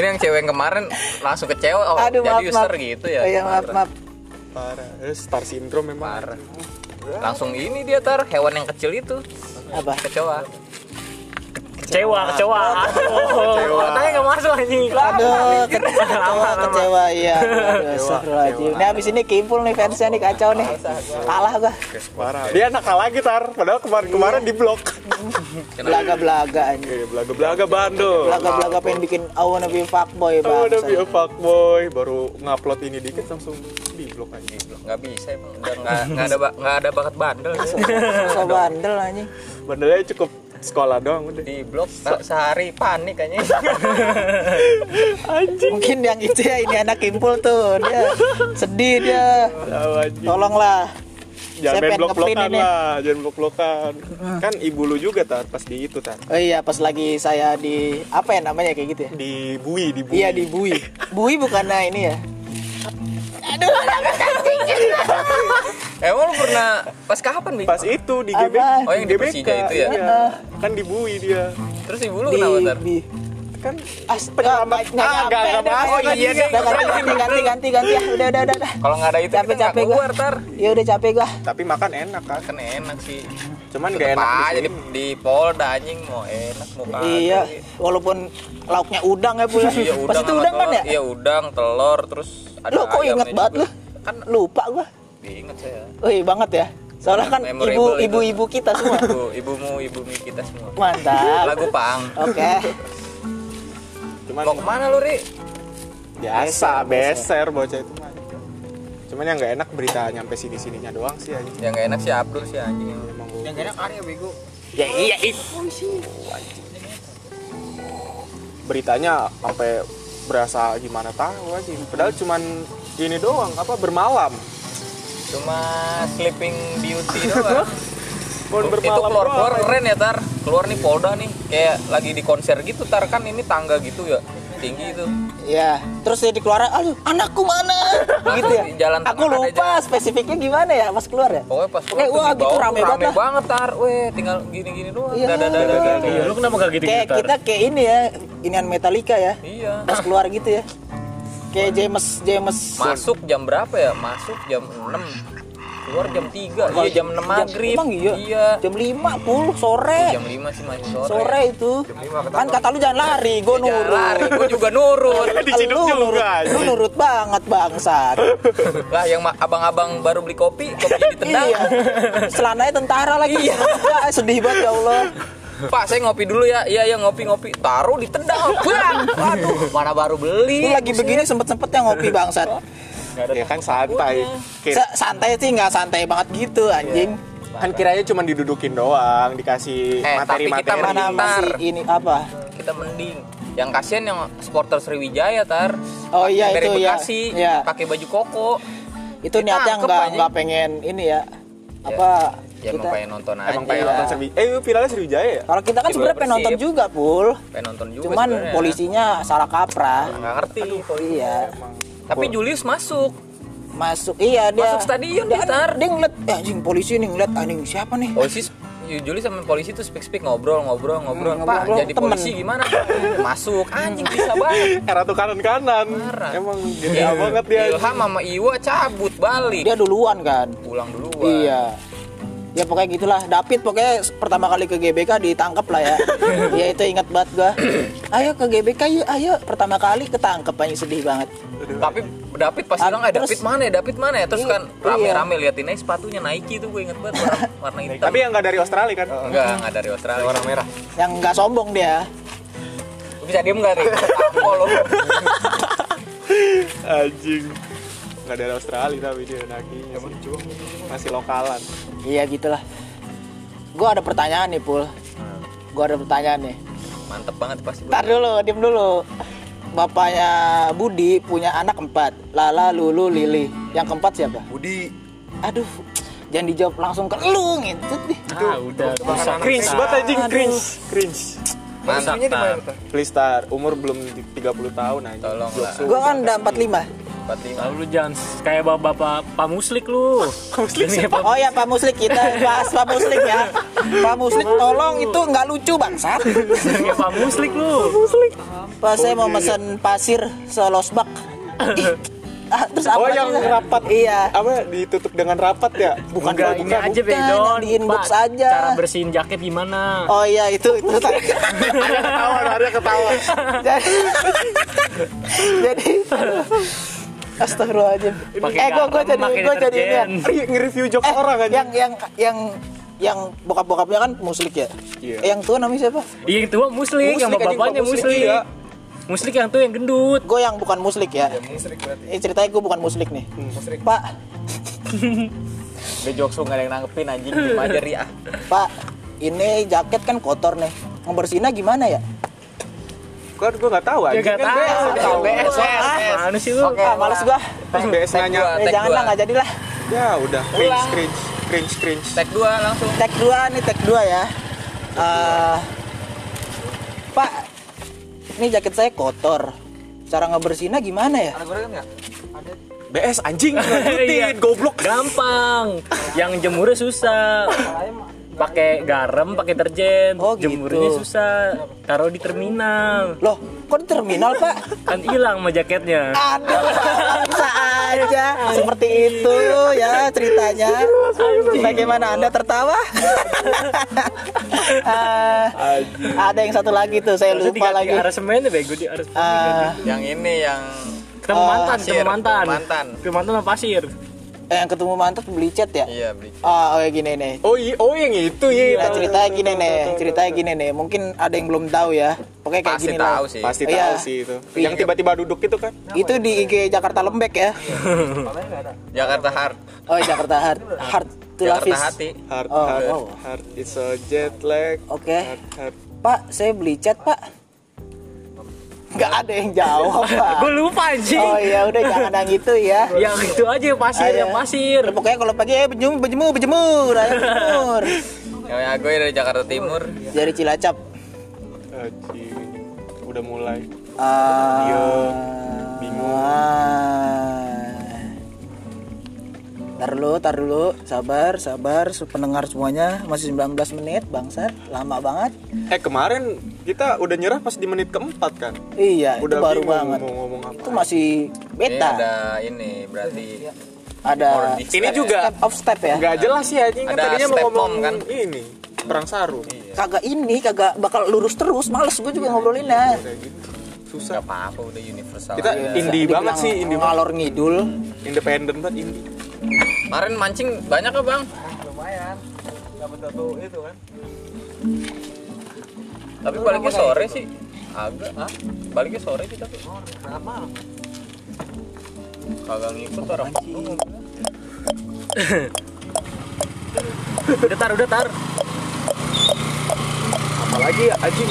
[SPEAKER 3] Ini yang cewek yang kemarin langsung kecewa oh,
[SPEAKER 2] aduh
[SPEAKER 3] jadi
[SPEAKER 2] maaf
[SPEAKER 3] user
[SPEAKER 2] maaf
[SPEAKER 3] gitu ya.
[SPEAKER 2] oh, iya, maaf maaf
[SPEAKER 1] Parah. Eh, Star syndrome memang.
[SPEAKER 3] Parah. Langsung ini dia tar hewan yang kecil itu
[SPEAKER 2] apa
[SPEAKER 3] kecewa.
[SPEAKER 5] kecewa kecewa kecewa Iya, tanya nggak masuk anjing
[SPEAKER 2] Aduh, ke- kecewa, kecewa, iya. Aduh, Astagfirullahaladzim. Ini abis ini kimpul nih fansnya nih kacau nih. Kalah gua.
[SPEAKER 1] Parah. Dia nakal lagi tar, padahal
[SPEAKER 2] Iya.
[SPEAKER 1] kemarin-kemarin di blok.
[SPEAKER 2] Belaga-belaga anjing.
[SPEAKER 1] Belaga-belaga bandel.
[SPEAKER 2] Belaga-belaga pengen bikin I wanna be fuckboy
[SPEAKER 1] Oh, udah be a
[SPEAKER 2] bang.
[SPEAKER 1] fuckboy, baru ngupload ini dikit langsung di blok aja.
[SPEAKER 3] Nggak bisa emang udah nggak nggak ada ba- nggak ada bakat bandel. dia.
[SPEAKER 2] So bandel anjing.
[SPEAKER 1] Bandelnya cukup sekolah doang
[SPEAKER 2] Iya.
[SPEAKER 1] udah.
[SPEAKER 3] Di blok se- sehari panik kayaknya.
[SPEAKER 2] Mungkin yang itu ya ini anak kimpul tuh dia sedih dia.
[SPEAKER 1] Tahu aja.
[SPEAKER 2] Tolonglah.
[SPEAKER 1] Jangan
[SPEAKER 2] Oh, Saya
[SPEAKER 1] main
[SPEAKER 2] pengen
[SPEAKER 1] blok-blokan
[SPEAKER 2] ngeprint ini.
[SPEAKER 1] lah, jangan blok-blokan. Kan ibu lu juga tar pas di itu tar.
[SPEAKER 2] Oh iya, pas lagi saya di apa ya namanya kayak gitu ya?
[SPEAKER 1] Di bui, di bui.
[SPEAKER 2] Iya di Bui. Bui bukannya ini ya?
[SPEAKER 3] Emang lu pernah pas kapan nih?
[SPEAKER 1] Pas itu di
[SPEAKER 2] Apa?
[SPEAKER 1] GBK.
[SPEAKER 3] Oh, yang di Persija itu ya?
[SPEAKER 1] Iya. Kan di bui dia.
[SPEAKER 3] Terus ibu lu
[SPEAKER 2] Di
[SPEAKER 3] kenapa tar?
[SPEAKER 2] Bi.
[SPEAKER 1] Kan
[SPEAKER 2] As
[SPEAKER 1] Penyelamat-
[SPEAKER 2] nggak
[SPEAKER 1] Ah, nggak-
[SPEAKER 2] nyampe
[SPEAKER 1] nggak
[SPEAKER 2] deh.
[SPEAKER 1] masuk
[SPEAKER 2] Udah,
[SPEAKER 3] lagi. Iya,
[SPEAKER 2] ganti, ganti ganti ganti ganti ya udah udah udah udah.
[SPEAKER 3] Kalau nggak ada itu kita nggak
[SPEAKER 2] Capek-capek gua.
[SPEAKER 3] keluar tar.
[SPEAKER 2] ya udah capek gua
[SPEAKER 1] tapi makan enak kan.
[SPEAKER 3] Kan enak sih.
[SPEAKER 1] Cuman
[SPEAKER 3] Tetep
[SPEAKER 1] gak enak di
[SPEAKER 3] aja
[SPEAKER 1] sini.
[SPEAKER 3] di, di Polda anjing mau enak mau kagak.
[SPEAKER 2] iya walaupun lauknya udang ya pula
[SPEAKER 3] Ah, Iya udang.
[SPEAKER 2] pas itu
[SPEAKER 3] sama
[SPEAKER 2] udang kan
[SPEAKER 3] telur.
[SPEAKER 2] ya
[SPEAKER 3] Iya udang, telur, terus ada
[SPEAKER 2] lo kok inget
[SPEAKER 3] ayamnya
[SPEAKER 2] banget
[SPEAKER 3] juga.
[SPEAKER 2] lo
[SPEAKER 3] Kan
[SPEAKER 2] lupa gua
[SPEAKER 3] inget saya.
[SPEAKER 2] wih banget ya soalnya kan
[SPEAKER 3] Memorable
[SPEAKER 2] ibu
[SPEAKER 3] itu.
[SPEAKER 2] ibu ibu kita semua
[SPEAKER 3] Ibu, ibumu, ibumu kita semua.
[SPEAKER 2] mantap
[SPEAKER 3] Lagu pang.
[SPEAKER 2] oke
[SPEAKER 1] Cuman
[SPEAKER 3] Mau kemana lu, Ri?
[SPEAKER 1] biasa, beser bocah itu mah. Cuman yang nggak enak berita nyampe sini-sininya doang sih aja.
[SPEAKER 3] Yang gak Ya, enak si Abdur sih anjing.
[SPEAKER 1] Emang gua-
[SPEAKER 3] Arya bego.
[SPEAKER 5] ya iya itu
[SPEAKER 1] beritanya sampai berasa gimana tahu aja. Padahal cuman ini doang apa bermalam.
[SPEAKER 3] Cuma sleeping beauty doang.
[SPEAKER 1] Mau
[SPEAKER 3] itu
[SPEAKER 1] bermalam
[SPEAKER 3] keluar keluar
[SPEAKER 1] doang.
[SPEAKER 3] keren ya tar keluar nih Polda nih kayak lagi di konser gitu tar kan ini tangga gitu ya tinggi itu
[SPEAKER 2] ya terus dia dikeluarin aduh anakku mana gitu ya
[SPEAKER 3] Nah, di jalan
[SPEAKER 2] aku
[SPEAKER 3] tengah ada
[SPEAKER 2] lupa spesifiknya gimana ya pas keluar ya
[SPEAKER 3] Pokoknya pas
[SPEAKER 2] Eh, wah, gitu rame banget lah.
[SPEAKER 3] banget tar. Weh, tinggal gini-gini doang.
[SPEAKER 2] Iya.
[SPEAKER 3] Dadah, dadah, dadah.
[SPEAKER 5] lu kenapa gak gitu
[SPEAKER 2] kayak kita kayak ini ya inian Metallica ya
[SPEAKER 3] Iya.
[SPEAKER 2] pas keluar gitu ya kayak James James
[SPEAKER 3] Masuk jam berapa ya? Masuk jam 6 keluar jam 3 iya jam 6 maghrib
[SPEAKER 2] Emang iya?
[SPEAKER 3] iya
[SPEAKER 2] Jam 5 pul sore.
[SPEAKER 3] jam 5 sih masih sore
[SPEAKER 2] sore itu. Kan kata lu jangan lari, gue
[SPEAKER 3] Jangan
[SPEAKER 2] nurut.
[SPEAKER 3] Iya, lari gue juga nurut
[SPEAKER 1] Diciduk
[SPEAKER 2] Lu
[SPEAKER 1] juga,
[SPEAKER 2] nurut, lu
[SPEAKER 1] anjing.
[SPEAKER 2] nurut banget bangsat.
[SPEAKER 3] lah yang ma- abang-abang baru beli kopi kopi ditendang
[SPEAKER 2] iya. Selananya tentara lagi. Iya. sedih banget ya Allah.
[SPEAKER 3] pak saya ngopi dulu ya iya ya ngopi ngopi taruh ditendang bang waduh mana baru
[SPEAKER 2] Lu
[SPEAKER 3] beli
[SPEAKER 2] lagi begini sempet-sempetnya ngopi bangsat.
[SPEAKER 3] Iya
[SPEAKER 1] ya kan santai Kira-
[SPEAKER 2] Sa- santai sih nggak santai banget gitu
[SPEAKER 3] Iya.
[SPEAKER 2] anjing.
[SPEAKER 1] kan kiranya cuma didudukin doang dikasih
[SPEAKER 3] Eh, tapi kita
[SPEAKER 1] materi-materi
[SPEAKER 2] Mana
[SPEAKER 3] Bentar.
[SPEAKER 2] masih ini apa?
[SPEAKER 3] kita mending yang kasihan yang supporter Sriwijaya tar
[SPEAKER 2] Oh iya
[SPEAKER 3] dari
[SPEAKER 2] itu ya.
[SPEAKER 3] Bekasi
[SPEAKER 2] Iya.
[SPEAKER 3] pakai baju koko
[SPEAKER 2] Itu
[SPEAKER 3] Kita
[SPEAKER 2] niatnya
[SPEAKER 3] angkep,
[SPEAKER 2] nggak
[SPEAKER 3] anjing. Iya.
[SPEAKER 2] nggak pengen ini ya. Apa
[SPEAKER 3] ya emang
[SPEAKER 2] kita
[SPEAKER 3] pengen nonton aja
[SPEAKER 1] emang pengen
[SPEAKER 2] Iya.
[SPEAKER 1] nonton Sriwijaya eh finalnya Sriwijaya ya
[SPEAKER 2] kalau kita kan
[SPEAKER 3] Di
[SPEAKER 2] sebenarnya
[SPEAKER 3] Bola
[SPEAKER 2] pengen nonton
[SPEAKER 3] Persib.
[SPEAKER 2] juga pul,
[SPEAKER 3] pengen nonton juga
[SPEAKER 2] cuman
[SPEAKER 3] sebenarnya.
[SPEAKER 2] polisinya salah kaprah.
[SPEAKER 3] nggak ngerti
[SPEAKER 2] Iya,
[SPEAKER 3] tapi Julius masuk
[SPEAKER 2] masuk iya dia
[SPEAKER 3] Masuk stadion,
[SPEAKER 2] dia,
[SPEAKER 3] Tar.
[SPEAKER 2] kan, dia ngeliat "Eh, anjing polisi nih ngeliat anjing siapa nih
[SPEAKER 3] polisi ya, Julius sama polisi tuh speak speak ngobrol ngobrol ngobrol
[SPEAKER 2] Hmm,
[SPEAKER 3] pak
[SPEAKER 2] ngobrol,
[SPEAKER 3] jadi
[SPEAKER 2] temen."
[SPEAKER 3] polisi gimana Pak?" masuk anjing bisa banget
[SPEAKER 1] era tuh kanan kanan
[SPEAKER 3] Parah.
[SPEAKER 1] emang
[SPEAKER 3] Iya.
[SPEAKER 1] gede banget dia
[SPEAKER 3] Ilham sama Iwa cabut balik
[SPEAKER 2] dia duluan kan
[SPEAKER 3] pulang duluan
[SPEAKER 2] iya ya pokoknya gitulah David pokoknya pertama kali ke GBK ditangkap lah ya ya itu ingat banget gua ayo ke GBK yuk ayo pertama kali ketangkep anjing sedih banget
[SPEAKER 3] tapi David pasti
[SPEAKER 2] Ah,
[SPEAKER 3] bilang ah
[SPEAKER 2] terus-
[SPEAKER 3] David mana ya David mana ya terus
[SPEAKER 2] Iya,
[SPEAKER 3] kan rame-rame liatin aja sepatunya Nike tuh gue inget banget warna, warna hitam
[SPEAKER 1] tapi yang nggak dari Australia kan
[SPEAKER 3] enggak enggak dari Australia warna merah
[SPEAKER 2] yang nggak sombong dia
[SPEAKER 3] lu bisa diem nggak nih Tampo lo
[SPEAKER 1] anjing nggak dari Australia tapi dia nakinya sih. masih lokalan
[SPEAKER 2] iya gitulah gua ada pertanyaan nih pul
[SPEAKER 3] Hmm.
[SPEAKER 2] gua ada pertanyaan nih
[SPEAKER 3] mantep banget pasti gue.
[SPEAKER 2] Ntar dulu, diem dulu. Bapaknya Budi punya anak empat, Lala, Lulu, Lili. Yang keempat siapa?
[SPEAKER 4] Budi
[SPEAKER 2] Aduh, jangan dijawab langsung ke lu ngintut nih.
[SPEAKER 5] Ah, udah bisa.
[SPEAKER 1] cringe banget anjing
[SPEAKER 2] Aduh.
[SPEAKER 1] cringe cringe
[SPEAKER 3] mantap
[SPEAKER 4] Maksudnya di mana
[SPEAKER 3] Tam.
[SPEAKER 4] Tar?
[SPEAKER 1] please Tar, umur belum di- 30 tahun anjing
[SPEAKER 3] Tolong lah.
[SPEAKER 1] Jokes lu.
[SPEAKER 2] Gua kan udah 45.
[SPEAKER 3] 45
[SPEAKER 5] Lalu lu jangan kayak bapak-bapak Pak Muslik lu. Muslik siapa?
[SPEAKER 2] Oh ya Pak Muslik kita bahas Pak Muslik ya. Pak Muslik tolong itu nggak lucu bangsat.
[SPEAKER 5] Kayak Pak Muslik lu.
[SPEAKER 2] Pak
[SPEAKER 1] Oh,
[SPEAKER 2] saya
[SPEAKER 1] iya,
[SPEAKER 2] mau mesen pasir selosbak. Ih, ah, terus apa
[SPEAKER 1] oh yang
[SPEAKER 2] sih?
[SPEAKER 1] rapat
[SPEAKER 2] Iya.
[SPEAKER 1] apa ditutup dengan rapat ya bukan
[SPEAKER 5] Enggak,
[SPEAKER 1] bukan,
[SPEAKER 5] ini aja
[SPEAKER 2] bukan,
[SPEAKER 5] Bey, Don.
[SPEAKER 2] yang di inbox
[SPEAKER 5] Pak,
[SPEAKER 2] aja.
[SPEAKER 5] Cara bersihin jaket gimana?
[SPEAKER 2] Oh iya itu itu.
[SPEAKER 1] ketawa Arya ketawa
[SPEAKER 2] jadi jadi astagfirullahaladzim
[SPEAKER 5] Pakai
[SPEAKER 2] eh gua gua
[SPEAKER 5] garam,
[SPEAKER 2] jadi
[SPEAKER 5] pakai
[SPEAKER 2] gua jadi ini ya.
[SPEAKER 5] deterjen.
[SPEAKER 1] Re- nge-review jokes
[SPEAKER 2] eh
[SPEAKER 1] orang
[SPEAKER 2] yang
[SPEAKER 1] anjing
[SPEAKER 2] yang yang yang bokap-bokapnya kan muslik ya
[SPEAKER 1] Iya.
[SPEAKER 2] Eh, yang tua namanya siapa
[SPEAKER 5] Iya yang tua Muslik, yang
[SPEAKER 1] Muslik, anjing,
[SPEAKER 5] bapaknya
[SPEAKER 1] Pak Muslik,
[SPEAKER 5] Muslik.
[SPEAKER 1] iya.
[SPEAKER 5] Muslik yang tuh yang gendut.
[SPEAKER 2] gue yang bukan muslik ya
[SPEAKER 4] Musrik berarti
[SPEAKER 2] eh, ceritanya gue bukan muslik nih
[SPEAKER 4] Musrik
[SPEAKER 2] pak
[SPEAKER 3] Udah jokes lu gak ada yang nanggepin anjing Diem aja Ria
[SPEAKER 2] pak ini jaket kan kotor nih ngebersihinnya gimana ya
[SPEAKER 1] kan gue nggak tahu
[SPEAKER 5] Ya
[SPEAKER 1] anjing
[SPEAKER 5] gak
[SPEAKER 1] kan
[SPEAKER 5] tahu.
[SPEAKER 1] BS tahu.
[SPEAKER 5] BS,
[SPEAKER 3] BS.
[SPEAKER 5] Mana sih lu?
[SPEAKER 2] ah, males gua
[SPEAKER 1] Pas BS nanya
[SPEAKER 3] dua.
[SPEAKER 2] eh,
[SPEAKER 3] tag
[SPEAKER 2] jangan
[SPEAKER 3] gua.
[SPEAKER 2] lah nggak jadilah
[SPEAKER 1] ya udah cringe cringe cringe cringe
[SPEAKER 3] Tag 2 langsung
[SPEAKER 2] tag 2 nih tag 2 ya Eh, pak ini jaket saya kotor cara ngebersihinnya gimana ya
[SPEAKER 4] Ada gorengan nggak?
[SPEAKER 1] BS anjing lanjutin
[SPEAKER 5] Iya.
[SPEAKER 1] goblok
[SPEAKER 5] Gampang. Yang jemurnya susah. Pakai garam, pakai deterjen.
[SPEAKER 2] Oh, gitu.
[SPEAKER 5] Jemurnya susah. Taruh di terminal.
[SPEAKER 2] loh kok di terminal pak
[SPEAKER 5] Kan hilang sama jaketnya.
[SPEAKER 2] aduh bisa aja seperti itu ya ceritanya bagaimana anda tertawa Eh, ada yang satu lagi tuh saya
[SPEAKER 5] Harusnya
[SPEAKER 2] lupa
[SPEAKER 5] diganti
[SPEAKER 2] lagi
[SPEAKER 5] aransemen deh, bego di aransemen.
[SPEAKER 2] Eh,
[SPEAKER 3] Yang ini yang
[SPEAKER 5] ketemu mantan, ketemu
[SPEAKER 3] pasir,
[SPEAKER 5] mantan.
[SPEAKER 3] ketemu mantan.
[SPEAKER 5] Ketemu mantan sama pasir.
[SPEAKER 2] yang ketemu mantap beli cat ya
[SPEAKER 3] Iya beli
[SPEAKER 2] ah oh, kayak gini nih
[SPEAKER 1] oh iya oh yang itu ya
[SPEAKER 2] Nah, ceritanya gini nih, ceritanya gini nih. Mungkin ada yang belum tahu ya. Pokoknya kayak
[SPEAKER 3] Pasti
[SPEAKER 2] gini lah.
[SPEAKER 3] tahu sih
[SPEAKER 1] pasti
[SPEAKER 2] Iya.
[SPEAKER 1] tahu sih itu yang tiba-tiba duduk itu kan
[SPEAKER 2] Itu di IG Jakarta Lembek ya.
[SPEAKER 3] Jakarta Heart
[SPEAKER 2] Oh, Jakarta Hard Hard to
[SPEAKER 3] Jakarta
[SPEAKER 2] Lafis.
[SPEAKER 3] Hati
[SPEAKER 1] Heart,
[SPEAKER 2] Oh,
[SPEAKER 1] heart,
[SPEAKER 2] oh.
[SPEAKER 1] heart, it's a jet lag.
[SPEAKER 2] Oke.
[SPEAKER 1] Heart, heart.
[SPEAKER 2] Pak, saya beli cat, Pak. Nggak ada yang jawab, Pak.
[SPEAKER 5] Gue lupa anjing.
[SPEAKER 2] Ah. Oh Ah, iya, udah jangan yang itu ya.
[SPEAKER 5] yang itu aja pasir,
[SPEAKER 2] Ada.
[SPEAKER 5] yang pasir.
[SPEAKER 2] Udah, Pokoknya kalau pagi eh berjemur, berjemur, berjemur, ayo berjemur.
[SPEAKER 3] Yang gue dari Jakarta Timur
[SPEAKER 2] Dari Cilacap.
[SPEAKER 1] Anjing. Udah mulai.
[SPEAKER 2] Ah.
[SPEAKER 1] Iya. Bingung.
[SPEAKER 2] Ah. Tar dulu, tar dulu, sabar, sabar, pendengar semuanya masih 19 menit, bangsat, lama banget.
[SPEAKER 1] Eh kemarin kita udah nyerah pas di menit keempat kan
[SPEAKER 2] Iya,
[SPEAKER 1] udah
[SPEAKER 2] itu baru
[SPEAKER 1] bingung Iya,
[SPEAKER 2] banget.
[SPEAKER 1] mau ngomong apa
[SPEAKER 2] Itu masih
[SPEAKER 3] Ini
[SPEAKER 2] beta.
[SPEAKER 3] ada ini berarti
[SPEAKER 2] Ada,
[SPEAKER 3] Or-
[SPEAKER 1] ini juga
[SPEAKER 2] step of step ya.
[SPEAKER 1] nggak jelas sih anjing kan
[SPEAKER 3] Ada
[SPEAKER 1] tadinya mau
[SPEAKER 3] step
[SPEAKER 1] ngomong
[SPEAKER 3] mom, kan?
[SPEAKER 1] ini perang sarung
[SPEAKER 2] Kagak ini, kagak bakal lurus terus. Males gue juga ngobrolinnya.
[SPEAKER 1] kayak gitu
[SPEAKER 3] nggak
[SPEAKER 1] susah
[SPEAKER 3] apa-apa udah universal.
[SPEAKER 1] kita
[SPEAKER 3] aja.
[SPEAKER 1] indie banget
[SPEAKER 2] Dibilang
[SPEAKER 1] sih indie banget
[SPEAKER 2] ngalor ngidul.
[SPEAKER 1] independen banget indie
[SPEAKER 3] kemarin mancing banyak ya bang? Lumayan. Dapat satu itu kan. Tapi baliknya sore sih. Agak ah. Baliknya sore kita tuh. Kagak ngikut orang.
[SPEAKER 5] Udah tar, udah tar.
[SPEAKER 1] apalagi ya anjing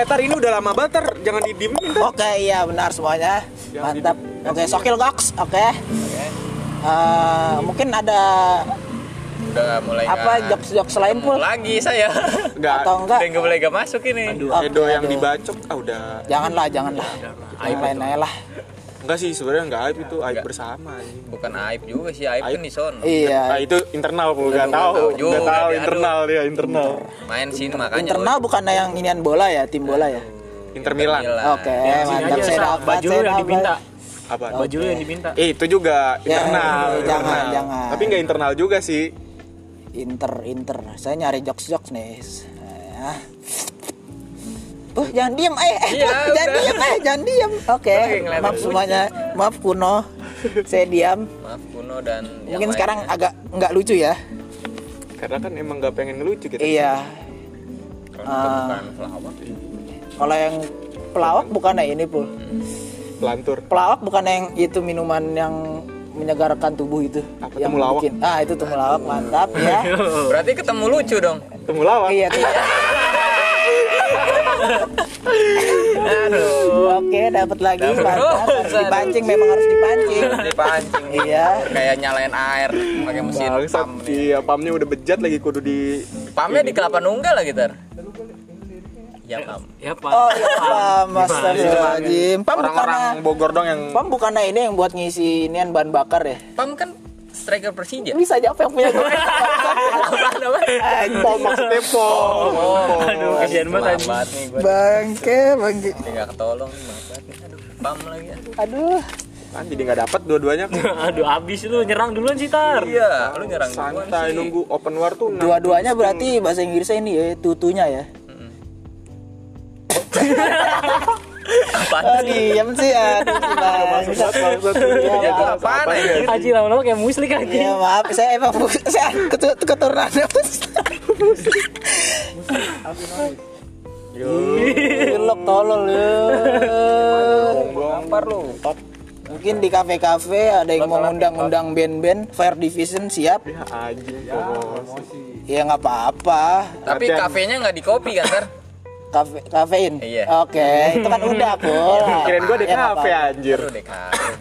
[SPEAKER 1] eh tar ini udah lama banget tar jangan didiemin tar
[SPEAKER 2] Oke, iya benar semuanya.
[SPEAKER 1] Yang
[SPEAKER 2] Mantap.
[SPEAKER 1] di-
[SPEAKER 2] Oke, Sokil Gox. Oke. Eh, mungkin ada
[SPEAKER 3] Udah mulai
[SPEAKER 1] nah.
[SPEAKER 2] apa
[SPEAKER 3] nggak
[SPEAKER 2] jokes-jokes lain
[SPEAKER 3] ketemu
[SPEAKER 2] pun
[SPEAKER 3] lagi saya.
[SPEAKER 1] Nggak,
[SPEAKER 2] atau enggak?
[SPEAKER 3] Udah nggak boleh nggak masuk ini.
[SPEAKER 2] Aduh,
[SPEAKER 1] Edo yang
[SPEAKER 2] aduh.
[SPEAKER 1] dibacok ah udah
[SPEAKER 2] Janganlah, janganlah. Yang lain aja lah.
[SPEAKER 1] enggak sih sebenarnya enggak aib itu aib
[SPEAKER 3] Enggak.
[SPEAKER 1] bersama anjing
[SPEAKER 3] Bukan aib juga sih, aib,
[SPEAKER 1] Aib.
[SPEAKER 3] kan di sono.
[SPEAKER 2] Iya.
[SPEAKER 1] Nah, itu internal gua nggak
[SPEAKER 3] Aduh,
[SPEAKER 1] tahu,
[SPEAKER 3] nggak tahu
[SPEAKER 1] nggak
[SPEAKER 3] juga
[SPEAKER 1] tahu
[SPEAKER 3] dia,
[SPEAKER 1] internal dia internal.
[SPEAKER 3] Main sini makanya.
[SPEAKER 2] Internal bukan yang inian bola ya, tim bola ya.
[SPEAKER 1] Inter Milan.
[SPEAKER 2] Oke, mantap.
[SPEAKER 5] Aja,
[SPEAKER 2] Saya
[SPEAKER 5] Sa.
[SPEAKER 2] dapat,
[SPEAKER 5] baju lu
[SPEAKER 2] saya
[SPEAKER 5] yang
[SPEAKER 2] dapat.
[SPEAKER 5] dipinta.
[SPEAKER 1] Apa?
[SPEAKER 5] Baju lu yang dipinta.
[SPEAKER 1] Eh, itu juga
[SPEAKER 2] Ya,
[SPEAKER 1] internal.
[SPEAKER 2] jangan,
[SPEAKER 1] internal.
[SPEAKER 2] jangan.
[SPEAKER 1] Tapi nggak internal juga sih.
[SPEAKER 2] Inter, Inter. Saya nyari jokes-jokes nih. Eh, Uh, jangan diem, eh, eh,
[SPEAKER 3] Iya,
[SPEAKER 2] jangan
[SPEAKER 3] udah.
[SPEAKER 2] diem, eh, jangan diem. Oke,
[SPEAKER 3] Oke, ngeliatin
[SPEAKER 2] maaf semuanya, maaf kuno, saya diam.
[SPEAKER 3] Maaf kuno dan yang
[SPEAKER 2] Mungkin
[SPEAKER 3] lain.
[SPEAKER 2] sekarang agak nggak lucu ya.
[SPEAKER 1] Karena kan emang nggak pengen lucu gitu.
[SPEAKER 2] Iya, Eh,
[SPEAKER 3] Kalau kita bukan pelawak.
[SPEAKER 2] kalau yang pelawak bukan ya ini pul.
[SPEAKER 1] Pelantur.
[SPEAKER 2] Pelawak bukan yang itu minuman yang menyegarkan tubuh itu.
[SPEAKER 1] Apa,
[SPEAKER 2] yang
[SPEAKER 1] temulawak?
[SPEAKER 2] bikin- Ah, itu temulawak mantap ya.
[SPEAKER 3] Berarti ketemu lucu dong.
[SPEAKER 1] Temu lawan.
[SPEAKER 2] Iya tuh. Aduh. Oke, dapat lagi.
[SPEAKER 3] Dapet.
[SPEAKER 1] Oh,
[SPEAKER 2] Mantap. Harus
[SPEAKER 3] Aduh.
[SPEAKER 2] dipancing, memang harus dipancing.
[SPEAKER 3] Dipancing.
[SPEAKER 2] Iya.
[SPEAKER 3] Kayak nyalain air pakai mesin
[SPEAKER 1] Bangsat,
[SPEAKER 3] pam. nih.
[SPEAKER 2] ya.
[SPEAKER 1] iya pamnya udah bejat lagi kudu di
[SPEAKER 3] Pamnya di kelapa nunggal lagi tar. Ya pam.
[SPEAKER 5] Ya, Pak.
[SPEAKER 2] Oh iya, Pam, Astagfirullahaladzim. Pam bukannya,
[SPEAKER 1] orang-orang Bogor dong yang
[SPEAKER 2] Pam bukannya ini yang buat ngisi inian bahan bakar ya?
[SPEAKER 3] Pam kan striker Persija.
[SPEAKER 2] Bisa aja apa yang punya gue.
[SPEAKER 1] pom maksudnya pom. Pom.
[SPEAKER 2] iya.
[SPEAKER 5] Aduh, kasihan banget. anjing.
[SPEAKER 3] Selamat nih gue.
[SPEAKER 2] Bangke, bangke.
[SPEAKER 3] Enggak ketolong nih maaf banget nih. Aduh, pam lagi ya.
[SPEAKER 2] Aduh.
[SPEAKER 1] Kan jadi nggak dapat dua-duanya.
[SPEAKER 5] Aduh, abis lu nyerang duluan sih, Tar.
[SPEAKER 3] Iya, lu nyerang gua
[SPEAKER 1] Santai
[SPEAKER 3] sih.
[SPEAKER 1] nunggu open war tuh. enam.
[SPEAKER 2] Dua-duanya berarti
[SPEAKER 3] Hmm.
[SPEAKER 2] bahasa Inggrisnya ini ya, tutunya ya.
[SPEAKER 3] Apaan
[SPEAKER 2] Oh,
[SPEAKER 3] sih?
[SPEAKER 2] diam sih, aduh. si Bangsat, bangsat. Iya,
[SPEAKER 3] Itu
[SPEAKER 2] maaf.
[SPEAKER 3] apaan ya?
[SPEAKER 5] Haji lama-lama kayak muslik aja.
[SPEAKER 2] Iya maaf, saya emang bu- saya ketu- keturunan Gilok tolol ya.
[SPEAKER 3] Gampar lu.
[SPEAKER 2] Mungkin di kafe-kafe ada yang mau ngundang-undang band-band Fire Division siap
[SPEAKER 1] Ya anjing promosi.
[SPEAKER 2] Ya nggak apa-apa
[SPEAKER 3] Tapi
[SPEAKER 1] Latihan.
[SPEAKER 3] kafenya nggak di kopi kan tar?
[SPEAKER 2] Kafe, Kafein?
[SPEAKER 3] Iya.
[SPEAKER 2] Oke, itu kan udah Pul.
[SPEAKER 1] Kirain gua di
[SPEAKER 2] Ya, nggak
[SPEAKER 1] kafe
[SPEAKER 2] apa-apa.
[SPEAKER 1] anjir.
[SPEAKER 3] Lu deh kafe juga.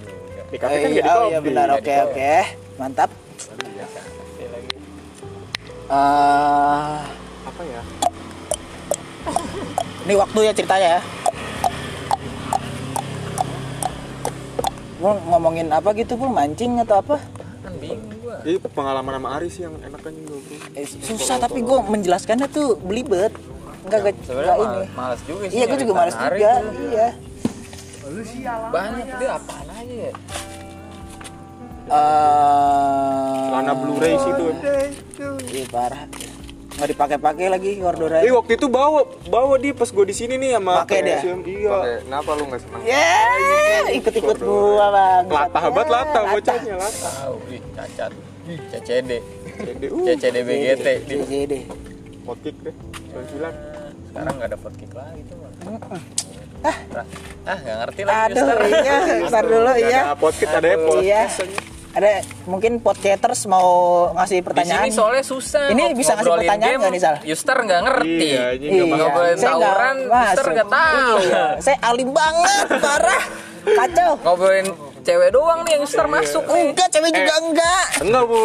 [SPEAKER 1] Di
[SPEAKER 2] Oh
[SPEAKER 1] kafe kan
[SPEAKER 2] iya,
[SPEAKER 1] jadi ya.
[SPEAKER 2] oh iya
[SPEAKER 1] kopi.
[SPEAKER 2] benar, oke oke Mantap Eh,
[SPEAKER 1] Apa ya?
[SPEAKER 2] Ini waktu ya ceritanya ya Pul ngomongin apa gitu Pul, mancing atau apa?
[SPEAKER 3] Kan bingung gua.
[SPEAKER 1] Jadi pengalaman sama Ari sih yang enak kan bro.
[SPEAKER 2] Eh, susah tapi gue menjelaskannya tuh belibet
[SPEAKER 1] Ya,
[SPEAKER 2] nggak
[SPEAKER 3] Sebenarnya
[SPEAKER 2] nggak
[SPEAKER 3] mal-
[SPEAKER 2] ini
[SPEAKER 3] malas juga sih.
[SPEAKER 2] iya gue
[SPEAKER 3] nyari
[SPEAKER 2] juga males
[SPEAKER 3] tanah
[SPEAKER 2] juga
[SPEAKER 3] air itu.
[SPEAKER 2] iya
[SPEAKER 3] Banyak dia apaan aja ya?
[SPEAKER 2] Eh,
[SPEAKER 1] Celana Blu-ray sih tuh.
[SPEAKER 2] iya parah nggak dipakai-pakai lagi
[SPEAKER 1] Eh
[SPEAKER 2] gordoran
[SPEAKER 1] waktu itu bawa bawa dia pas gue di sini nih sama
[SPEAKER 2] Pakai dia?
[SPEAKER 1] pensiun. Iya.
[SPEAKER 4] kenapa lu nggak senang?
[SPEAKER 2] ya ikut-ikut gua bang
[SPEAKER 1] Latah banget latah bocahnya latah.
[SPEAKER 3] Tahu, ih cacat. CCD,
[SPEAKER 1] Jadi uh
[SPEAKER 3] CCD BGT. Di-
[SPEAKER 2] jadi
[SPEAKER 1] motik deh. Sembilan.
[SPEAKER 3] Sekarang nggak ada podcast lagi tuh. Bang.
[SPEAKER 2] Ah.
[SPEAKER 3] Ah, nggak ngerti lah.
[SPEAKER 2] aduh
[SPEAKER 3] Mister.
[SPEAKER 2] iya ntar dulu iya
[SPEAKER 1] Ada podcast Ya, ada podcast.
[SPEAKER 2] iya ada mungkin podcasters mau ngasih
[SPEAKER 3] Di sini
[SPEAKER 2] pertanyaan
[SPEAKER 3] soalnya susah.
[SPEAKER 2] Ini
[SPEAKER 3] ngob-
[SPEAKER 2] bisa ngasih
[SPEAKER 3] ngobrolin
[SPEAKER 2] pertanyaan
[SPEAKER 3] game.
[SPEAKER 2] nggak nih, Sal?
[SPEAKER 3] Yuster nggak ngerti.
[SPEAKER 1] Iya, ini nggak
[SPEAKER 2] Iya.
[SPEAKER 1] bakal.
[SPEAKER 3] Ngobrolin
[SPEAKER 2] Saya nggak
[SPEAKER 3] tawuran, Yuster
[SPEAKER 2] masuk.
[SPEAKER 3] nggak tahu.
[SPEAKER 2] Iya, saya alim banget parah kacau
[SPEAKER 3] Ngobrolin cewek doang nih yang
[SPEAKER 1] Iya.
[SPEAKER 3] Yuster masuk nih.
[SPEAKER 2] enggak cewek juga enggak
[SPEAKER 1] Enggak bu.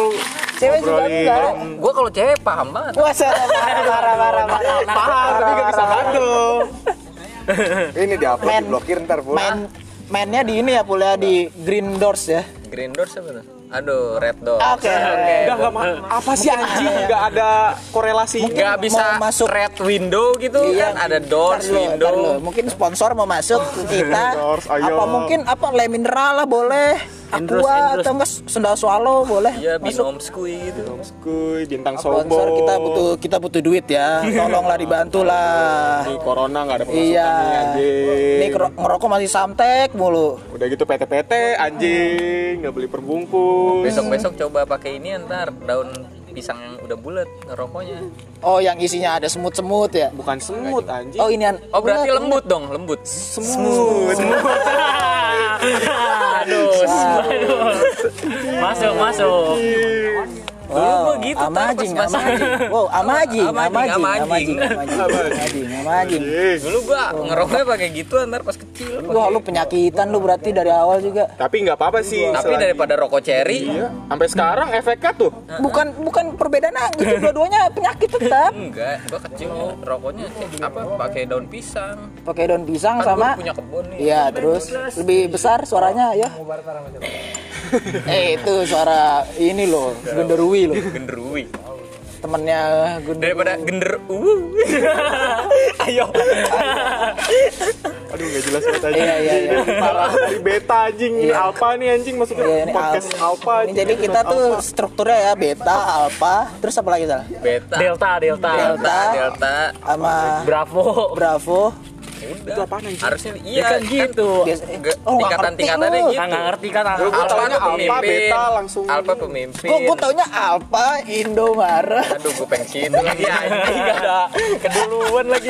[SPEAKER 2] Cewek
[SPEAKER 1] Eh.
[SPEAKER 2] juga
[SPEAKER 1] Ngobrolin.
[SPEAKER 2] enggak.
[SPEAKER 3] Gua kalau cewek paham banget.
[SPEAKER 2] Wah, salah, parah, parah, parah, parah.
[SPEAKER 1] Paham tapi nggak bisa handle.
[SPEAKER 4] Ini di apa?
[SPEAKER 2] Men.
[SPEAKER 4] Diblokir ntar pula.
[SPEAKER 2] Main mainnya di ini ya, pula di Green Doors ya.
[SPEAKER 3] Green Door siapa tuh? Aduh, red dot.
[SPEAKER 2] Ah, Oke.
[SPEAKER 1] Udah nggak ma- apa sih anjing nggak ada korelasinya.
[SPEAKER 3] Nggak bisa
[SPEAKER 2] Mau masuk-
[SPEAKER 3] red window gitu
[SPEAKER 2] Iya,
[SPEAKER 3] kan ada
[SPEAKER 2] Ntar
[SPEAKER 3] doors,
[SPEAKER 2] dulu, ntar
[SPEAKER 3] window.
[SPEAKER 2] dulu. Mungkin sponsor mau masuk ke kita.
[SPEAKER 1] Doors, ayo.
[SPEAKER 2] Apa mungkin apa le mineral lah boleh.
[SPEAKER 5] Endorse,
[SPEAKER 2] Aqua
[SPEAKER 5] endorse.
[SPEAKER 2] atau enggak sendal swallow boleh.
[SPEAKER 3] Iya,
[SPEAKER 2] masuk.
[SPEAKER 3] binom skui gitu.
[SPEAKER 1] Skuy, bintang sobo.
[SPEAKER 2] Sponsor kita butuh kita butuh duit ya. Tolonglah dibantulah.
[SPEAKER 1] Di corona nggak ada pemasukan
[SPEAKER 2] Iya.
[SPEAKER 1] nih, anjing.
[SPEAKER 2] Ini kero- ngerokok masih samtek mulu.
[SPEAKER 1] Udah gitu PT-PT anjing nggak beli perbungkus.
[SPEAKER 2] Hmm.
[SPEAKER 3] Besok-besok coba pakai ini ntar daun pisang yang udah bulat rokoknya.
[SPEAKER 2] Oh, yang isinya ada semut-semut ya.
[SPEAKER 1] Bukan semut anjing.
[SPEAKER 2] Oh, inian.
[SPEAKER 3] Oh, berarti lembut dong, lembut.
[SPEAKER 1] semut.
[SPEAKER 5] Aduh, aduh. Masuk, masuk.
[SPEAKER 2] Wow,
[SPEAKER 3] Dulu begitu, Tar,
[SPEAKER 2] amajing,
[SPEAKER 3] pas masuk.
[SPEAKER 2] amajing. Oh, Wow, amajing, amajing,
[SPEAKER 3] Amajing,
[SPEAKER 2] amajing,
[SPEAKER 3] amajing.
[SPEAKER 2] amajing, amajing, amajing.
[SPEAKER 1] Anjing.
[SPEAKER 3] Dulu gua ngerokoknya pakai gitu ntar pas kecil.
[SPEAKER 2] Wah, lu penyakitan lu berarti dari awal juga.
[SPEAKER 1] Tapi nggak apa-apa sih.
[SPEAKER 3] Tapi
[SPEAKER 1] selagi-
[SPEAKER 3] daripada rokok ceri,
[SPEAKER 1] Iya, sampai sekarang efeknya tuh.
[SPEAKER 2] bukan bukan perbedaan gitu dua-duanya penyakit tetap
[SPEAKER 3] enggak, gua kecil rokoknya eh, apa pakai daun pisang.
[SPEAKER 2] pakai daun pisang
[SPEAKER 3] Kan
[SPEAKER 2] sama
[SPEAKER 3] gua punya kebun nih.
[SPEAKER 2] Iya terus lebih besar suaranya ya eh itu suara ini loh genderwi loh
[SPEAKER 3] Genderui.
[SPEAKER 2] temennya gender
[SPEAKER 3] Daripada gender uh. Ayo.
[SPEAKER 1] Aduh nggak jelas banget anjing.
[SPEAKER 2] Iya, iya, iya.
[SPEAKER 1] Parah dari beta anjing, alpha nih anjing masukin
[SPEAKER 2] Iya, ini
[SPEAKER 1] podcast
[SPEAKER 2] alpha.
[SPEAKER 1] alpha.
[SPEAKER 2] Ini
[SPEAKER 1] anjing.
[SPEAKER 2] jadi kita tuh strukturnya ya beta alpha terus apa lagi salah
[SPEAKER 3] Beta.
[SPEAKER 5] Delta, Delta.
[SPEAKER 3] Delta,
[SPEAKER 2] Delta.
[SPEAKER 3] Delta.
[SPEAKER 2] sama
[SPEAKER 5] Bravo.
[SPEAKER 2] bravo
[SPEAKER 3] Udah.
[SPEAKER 1] Itu apaan, anjing?
[SPEAKER 3] Harusnya
[SPEAKER 5] Ya
[SPEAKER 3] iya
[SPEAKER 5] kan gitu.
[SPEAKER 2] biasa
[SPEAKER 3] Nggak,
[SPEAKER 2] oh nggak ngerti
[SPEAKER 3] tingkatan-tingkatannya
[SPEAKER 2] lu.
[SPEAKER 5] Kan
[SPEAKER 3] gitu.
[SPEAKER 5] nggak ngerti kan? nggak
[SPEAKER 1] Gua- gua
[SPEAKER 5] ngerti.
[SPEAKER 3] Alpha
[SPEAKER 1] taunya
[SPEAKER 3] tuh
[SPEAKER 1] alpha,
[SPEAKER 3] pemimpin.
[SPEAKER 1] beta langsung.
[SPEAKER 3] Alpha pemimpin.
[SPEAKER 2] Kok gue taunya Alfa, Indomaret
[SPEAKER 3] Aduh, gue pengen sini lagi anjing gak ada.
[SPEAKER 5] Keduluan lagi.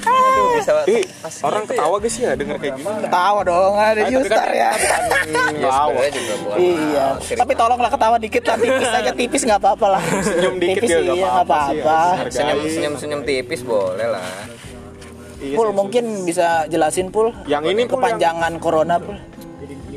[SPEAKER 3] Aduh, bisa
[SPEAKER 1] Ih,
[SPEAKER 3] pas
[SPEAKER 1] orang
[SPEAKER 3] gitu
[SPEAKER 1] ketawa gak sih ya denger kayak gini?
[SPEAKER 2] Ketawa dong,
[SPEAKER 1] Nah,
[SPEAKER 2] ada Yustar ya
[SPEAKER 1] Hmm,
[SPEAKER 3] Ya,
[SPEAKER 1] wow.
[SPEAKER 3] sebenarnya juga boleh.
[SPEAKER 2] Iya, tapi tolonglah ketawa dikit lah, tipis aja tipis nggak apa-apa lah.
[SPEAKER 1] Senyum dikit
[SPEAKER 2] tipis,
[SPEAKER 1] ya
[SPEAKER 2] iya,
[SPEAKER 1] nggak
[SPEAKER 2] nggak
[SPEAKER 1] apa-apa sih,
[SPEAKER 2] apa-apa.
[SPEAKER 1] harus
[SPEAKER 3] senyum
[SPEAKER 1] hargai.
[SPEAKER 3] senyum senyum tipis boleh lah.
[SPEAKER 1] Iya,
[SPEAKER 2] Pul
[SPEAKER 1] senyum-
[SPEAKER 2] mungkin bisa jelasin pul.
[SPEAKER 1] Yang ini, Pul,
[SPEAKER 2] kepanjangan corona pul.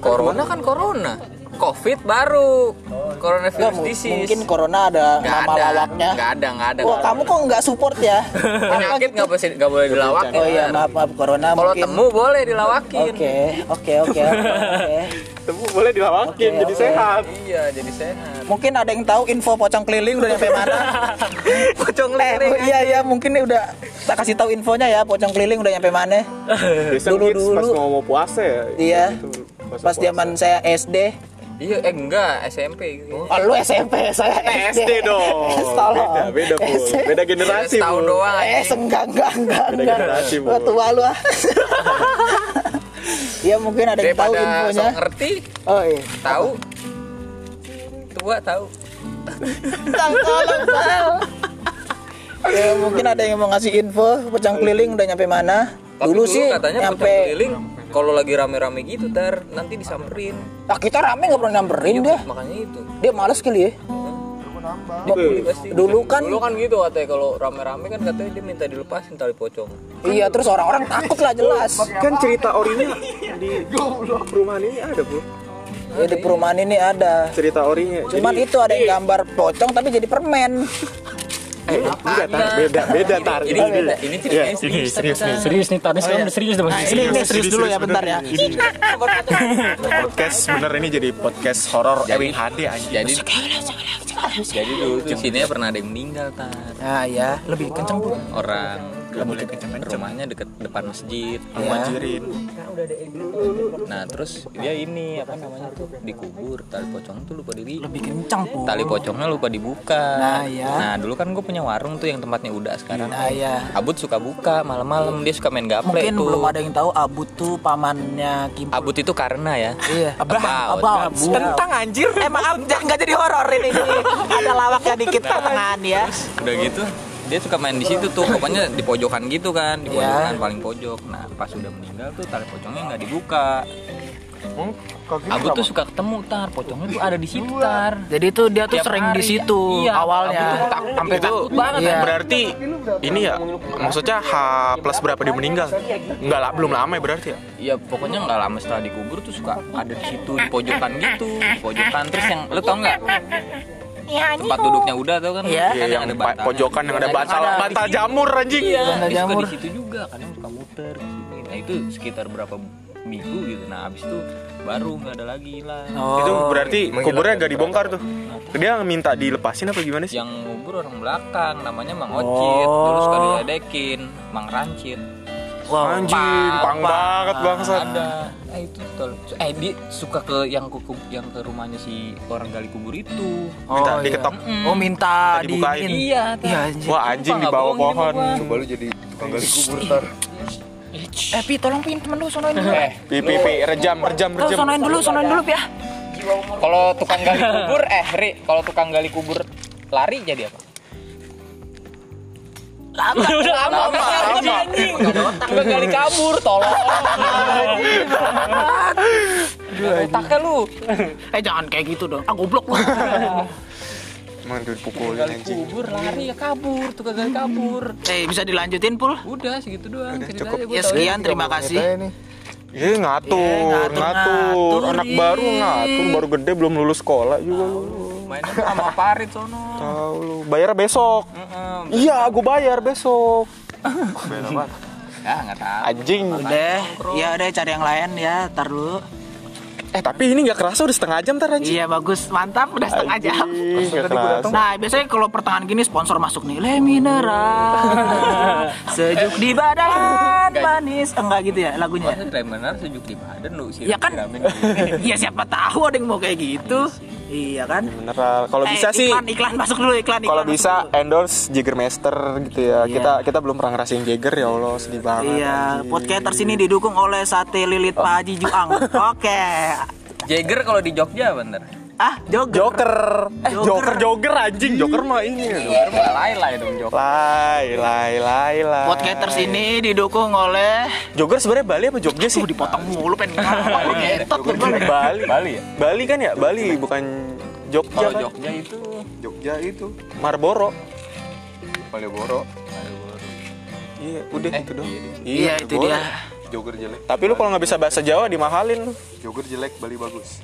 [SPEAKER 3] Corona kan corona. Covid baru.
[SPEAKER 2] Nggak,
[SPEAKER 3] Coronavirus
[SPEAKER 2] mu-
[SPEAKER 3] disease.
[SPEAKER 2] mungkin corona ada
[SPEAKER 3] Nggak
[SPEAKER 2] nama
[SPEAKER 3] ada.
[SPEAKER 2] lawaknya.
[SPEAKER 3] Nggak ada, nggak ada.
[SPEAKER 2] Wah,
[SPEAKER 3] nggak
[SPEAKER 2] kamu
[SPEAKER 3] ada.
[SPEAKER 2] kok nggak support ya?
[SPEAKER 3] penyakit nggak boleh nggak boleh dilawakin.
[SPEAKER 2] Oh iya, maaf maaf corona
[SPEAKER 3] Kalau
[SPEAKER 2] mungkin.
[SPEAKER 3] temu boleh dilawakin.
[SPEAKER 2] Oke, oke, oke, oke.
[SPEAKER 1] Temu boleh dilawakin
[SPEAKER 2] Oke,
[SPEAKER 1] jadi
[SPEAKER 2] oke.
[SPEAKER 1] sehat.
[SPEAKER 3] Iya, jadi sehat.
[SPEAKER 2] Mungkin ada yang tahu info pocong keliling udah sampai mana?
[SPEAKER 3] Pocong
[SPEAKER 2] Eh,
[SPEAKER 3] lele.
[SPEAKER 2] iya iya mungkin ini udah tak kasih tahu infonya ya pocong keliling udah nyampe mana?
[SPEAKER 3] Iya.
[SPEAKER 1] Biasanya
[SPEAKER 2] Dulu-
[SPEAKER 1] kids pas
[SPEAKER 2] dulu.
[SPEAKER 1] mau mau puasa ya.
[SPEAKER 2] Iya.
[SPEAKER 1] gitu,
[SPEAKER 2] Pas
[SPEAKER 1] puasa.
[SPEAKER 2] zaman saya SD,
[SPEAKER 3] Iya, eh enggak, SMP gitu.
[SPEAKER 2] Oh, lu SMP, saya
[SPEAKER 1] SD Nah, dong.
[SPEAKER 2] Tolong.
[SPEAKER 1] Beda, beda pul.
[SPEAKER 2] SD.
[SPEAKER 1] Beda generasi.
[SPEAKER 3] Setahun
[SPEAKER 1] Pul.
[SPEAKER 3] doang.
[SPEAKER 2] Eh,
[SPEAKER 3] anjing.
[SPEAKER 2] enggak, enggak, enggak,
[SPEAKER 1] Beda
[SPEAKER 2] enggak.
[SPEAKER 1] generasi, Bu.
[SPEAKER 2] Wah, tua lu ah. ya mungkin ada yang tahu
[SPEAKER 3] Daripada
[SPEAKER 2] infonya.
[SPEAKER 3] sok ngerti,
[SPEAKER 2] Oh iya.
[SPEAKER 3] tahu. Tua tahu.
[SPEAKER 2] Tolong, tolong, tolong. Ya mungkin ada yang mau ngasih info pocong keliling udah nyampe mana?
[SPEAKER 3] Tapi
[SPEAKER 2] dulu, sih
[SPEAKER 3] katanya
[SPEAKER 2] nyampe
[SPEAKER 3] pocong keliling kalau lagi rame-rame gitu tar nanti disamperin.
[SPEAKER 2] Ah, kita rame nggak pernah nyamperin dia.
[SPEAKER 3] Makanya itu.
[SPEAKER 2] Dia males kali ya.
[SPEAKER 3] Dibully pasti.
[SPEAKER 2] Dulu kan-
[SPEAKER 3] dulu kan gitu katanya kalau rame-rame kan katanya dia minta dilepasin tali pocong.
[SPEAKER 2] Iya, terus orang-orang takut lah jelas.
[SPEAKER 1] Kan cerita orinya di perumahan ini ada, Bu.
[SPEAKER 2] Ya, di perumahan ini ada.
[SPEAKER 1] Cerita orinya.
[SPEAKER 2] Cuman itu ada yang gambar pocong tapi jadi permen.
[SPEAKER 1] Eh, enggak, tar, beda, beda, tar.
[SPEAKER 3] Ini
[SPEAKER 2] Iya.
[SPEAKER 3] ini, ini ceritanya
[SPEAKER 5] Serius, serius nih, serius nih. Tadi sekarang udah serius deh. Bang.
[SPEAKER 2] Ini, ini serius dulu ya bentar ya.
[SPEAKER 1] podcast bener ini jadi podcast horor
[SPEAKER 3] Jadi-
[SPEAKER 1] Ewing HD anjing.
[SPEAKER 3] jadi jadi dulu di sini pernah ada yang meninggal kan
[SPEAKER 2] Ah ya, lebih kenceng Bu.
[SPEAKER 3] orang
[SPEAKER 1] Gak boleh kenceng-kenceng.
[SPEAKER 3] rumahnya deket depan masjid
[SPEAKER 2] Iya.
[SPEAKER 1] Wajirin.
[SPEAKER 3] nah terus dia ini apa namanya tuh dikubur tali pocong tuh lupa diri
[SPEAKER 2] Lebih kenceng Bu.
[SPEAKER 3] tali pocongnya lupa dibuka
[SPEAKER 2] Nah, iya.
[SPEAKER 3] Nah, dulu kan gue punya warung tuh yang tempatnya udah sekarang
[SPEAKER 2] Nah ya.
[SPEAKER 3] abut suka buka malam-malam dia suka main gaple
[SPEAKER 2] Mungkin
[SPEAKER 3] tuh
[SPEAKER 2] belum ada yang tahu Abut tuh pamannya Kim.
[SPEAKER 3] abut itu karena ya
[SPEAKER 2] Iya.
[SPEAKER 3] About.
[SPEAKER 2] Tentang anjir. Emang ab- jangan nggak jadi horor ini. ada lawaknya
[SPEAKER 3] Nah.
[SPEAKER 2] dikit pertengahan ya.
[SPEAKER 3] udah gitu dia suka main di situ tuh pokoknya di pojokan gitu kan di
[SPEAKER 4] Iya.
[SPEAKER 3] pojokan paling pojok nah pas udah meninggal tuh tali pocongnya nggak dibuka
[SPEAKER 4] Hmm?
[SPEAKER 3] Abu tuh suka ketemu tar pocongnya tuh ada di situ tar
[SPEAKER 2] Jadi tuh dia tuh
[SPEAKER 3] Tiap
[SPEAKER 2] sering
[SPEAKER 3] hari.
[SPEAKER 2] di situ
[SPEAKER 3] Iya,
[SPEAKER 2] awalnya.
[SPEAKER 3] Abu tuh tak- sampai takut banget
[SPEAKER 2] Iya.
[SPEAKER 4] Berarti ini ya maksudnya H plus berapa dia meninggal? Enggak lah, belum lama ya berarti ya.
[SPEAKER 3] ya pokoknya nggak lama setelah dikubur tuh suka ada di situ di pojokan gitu di pojokan terus yang lu tau nggak tempat duduknya udah tau kan
[SPEAKER 2] Iya.
[SPEAKER 3] kan
[SPEAKER 4] Iya, yang ba-
[SPEAKER 3] bantalnya.
[SPEAKER 4] pojokan yang ada
[SPEAKER 3] Iya,
[SPEAKER 4] bantal,
[SPEAKER 3] kan Ada di
[SPEAKER 4] bantal
[SPEAKER 3] situ.
[SPEAKER 4] jamur anjing.
[SPEAKER 3] iya
[SPEAKER 2] Bantal
[SPEAKER 3] dia suka
[SPEAKER 2] jamur.
[SPEAKER 3] di situ juga kadang suka muter di sini nah itu sekitar berapa minggu gitu nah abis itu baru nggak ada lagi lah
[SPEAKER 5] Oh.
[SPEAKER 1] itu berarti kuburnya gak dibongkar tuh dia minta dilepasin apa gimana sih
[SPEAKER 3] yang ngubur orang belakang namanya Mang Ocit dulu suka diledekin Mang Rancit
[SPEAKER 1] Wah, anjing, pang banget bangsat.
[SPEAKER 3] ada eh itu tol eh dia suka ke yang ke yang ke rumahnya si orang gali kubur itu
[SPEAKER 5] Oh,
[SPEAKER 1] Minta
[SPEAKER 5] iya.
[SPEAKER 1] diketok.
[SPEAKER 5] Hmm.
[SPEAKER 2] Oh minta
[SPEAKER 1] Minta dibukain.
[SPEAKER 2] diinin.
[SPEAKER 3] iya
[SPEAKER 2] Iya
[SPEAKER 3] Tar.
[SPEAKER 2] anjing.
[SPEAKER 1] Wah, anjing di
[SPEAKER 3] Sumpah,
[SPEAKER 1] bawah
[SPEAKER 3] nggak bohong
[SPEAKER 1] pohon.
[SPEAKER 3] ini
[SPEAKER 4] Coba lu jadi tukang gali kubur tar.
[SPEAKER 6] Eh, Pi, tolong pin temen lu sonoin dulu.
[SPEAKER 1] Pi pi pi rejam rejam
[SPEAKER 6] Lu
[SPEAKER 1] rejam.
[SPEAKER 6] sonoin dulu, sonoin dulu, Pi ya.
[SPEAKER 3] kalau tukang gali kubur eh Ri kalau tukang gali kubur lari jadi apa lama udah lama lama
[SPEAKER 2] Iya,
[SPEAKER 3] lama udah gali kabur tolong Ada otaknya lu
[SPEAKER 6] Eh, jangan kayak gitu dong. Ah, goblok lu.
[SPEAKER 1] Emang udah dipukulin
[SPEAKER 3] gali
[SPEAKER 1] anjing.
[SPEAKER 3] kubur lari ya kabur tukang gali kabur
[SPEAKER 2] Eh bisa dilanjutin pul?
[SPEAKER 3] udah segitu doang ceritanya
[SPEAKER 1] cukup.
[SPEAKER 3] gua
[SPEAKER 2] Ya
[SPEAKER 3] tahu
[SPEAKER 2] sekian terima kasih.
[SPEAKER 4] Ini
[SPEAKER 1] Iya
[SPEAKER 2] Iya,
[SPEAKER 1] ngatur,
[SPEAKER 2] ngatur,
[SPEAKER 1] ngatur. Anak
[SPEAKER 2] ngaturin.
[SPEAKER 1] baru ngatur, baru gede belum lulus sekolah juga lu.
[SPEAKER 3] main sama Parit sono
[SPEAKER 1] Tahu lu. Bayar besok. Iya, gua bayar besok.
[SPEAKER 3] ya nggak tahu
[SPEAKER 1] Anjing.
[SPEAKER 2] Udah, ya udah cari yang lain ya, tar dulu.
[SPEAKER 1] Eh, tapi ini nggak kerasa udah setengah jam tar anjing.
[SPEAKER 2] Iya bagus, mantap, udah setengah jam.
[SPEAKER 1] Anjing, nggak kerasa.
[SPEAKER 2] Nah, biasanya kalau pertengahan gini sponsor masuk nih. Le mineral. Sejuk di badan, manis. Enggak gitu ya lagunya.
[SPEAKER 3] Maksudnya klaim benar sejuk di badan lu sih.
[SPEAKER 2] Ya kan? Ya siapa tahu ada yang mau kayak gitu. Iya kan?
[SPEAKER 1] Mineral. Kalau bisa
[SPEAKER 2] Eh,
[SPEAKER 1] sih
[SPEAKER 2] iklan, iklan masuk dulu iklan iklan.
[SPEAKER 1] kalau
[SPEAKER 2] masuk
[SPEAKER 1] bisa
[SPEAKER 2] dulu.
[SPEAKER 1] endorse Jagermaster gitu ya.
[SPEAKER 2] Iya.
[SPEAKER 1] Kita kita belum pernah ngerasain Jagger ya Allah, sedih banget.
[SPEAKER 2] Iya,
[SPEAKER 1] anjing. Oh.
[SPEAKER 2] podcaster sini didukung oleh sate lilit Pak Haji Juang. Oke.
[SPEAKER 3] Jagger kalau di Jogja bener.
[SPEAKER 2] Ah, joker.
[SPEAKER 1] Joker. Eh,
[SPEAKER 2] Joker.
[SPEAKER 1] Joker Joker anjing. Joker mah ini.
[SPEAKER 3] Jogger mah lain lah dong Jogger.
[SPEAKER 1] Lai, lai, lai, lai.
[SPEAKER 2] Podcaster sini didukung oleh
[SPEAKER 1] Jogger sebenarnya Bali apa Jogja sih?
[SPEAKER 2] dipotong mulu pengen ngomong lu ngetot lu, Bang.
[SPEAKER 1] Bali.
[SPEAKER 3] Bali ya?
[SPEAKER 1] Bali kan ya?
[SPEAKER 2] Iya.
[SPEAKER 1] Bali bukan Jogja
[SPEAKER 3] Kalau
[SPEAKER 1] kan?
[SPEAKER 3] Jogja itu
[SPEAKER 4] Jogja itu
[SPEAKER 1] Marlboro.
[SPEAKER 4] Malioboro,
[SPEAKER 1] Iya, udah itu dong.
[SPEAKER 2] Eh, Iya, itu dia.
[SPEAKER 4] Jogger jelek,
[SPEAKER 1] Tapi lu kalau nggak bisa bahasa Jawa dimahalin lu.
[SPEAKER 4] Jogger jelek Bali bagus.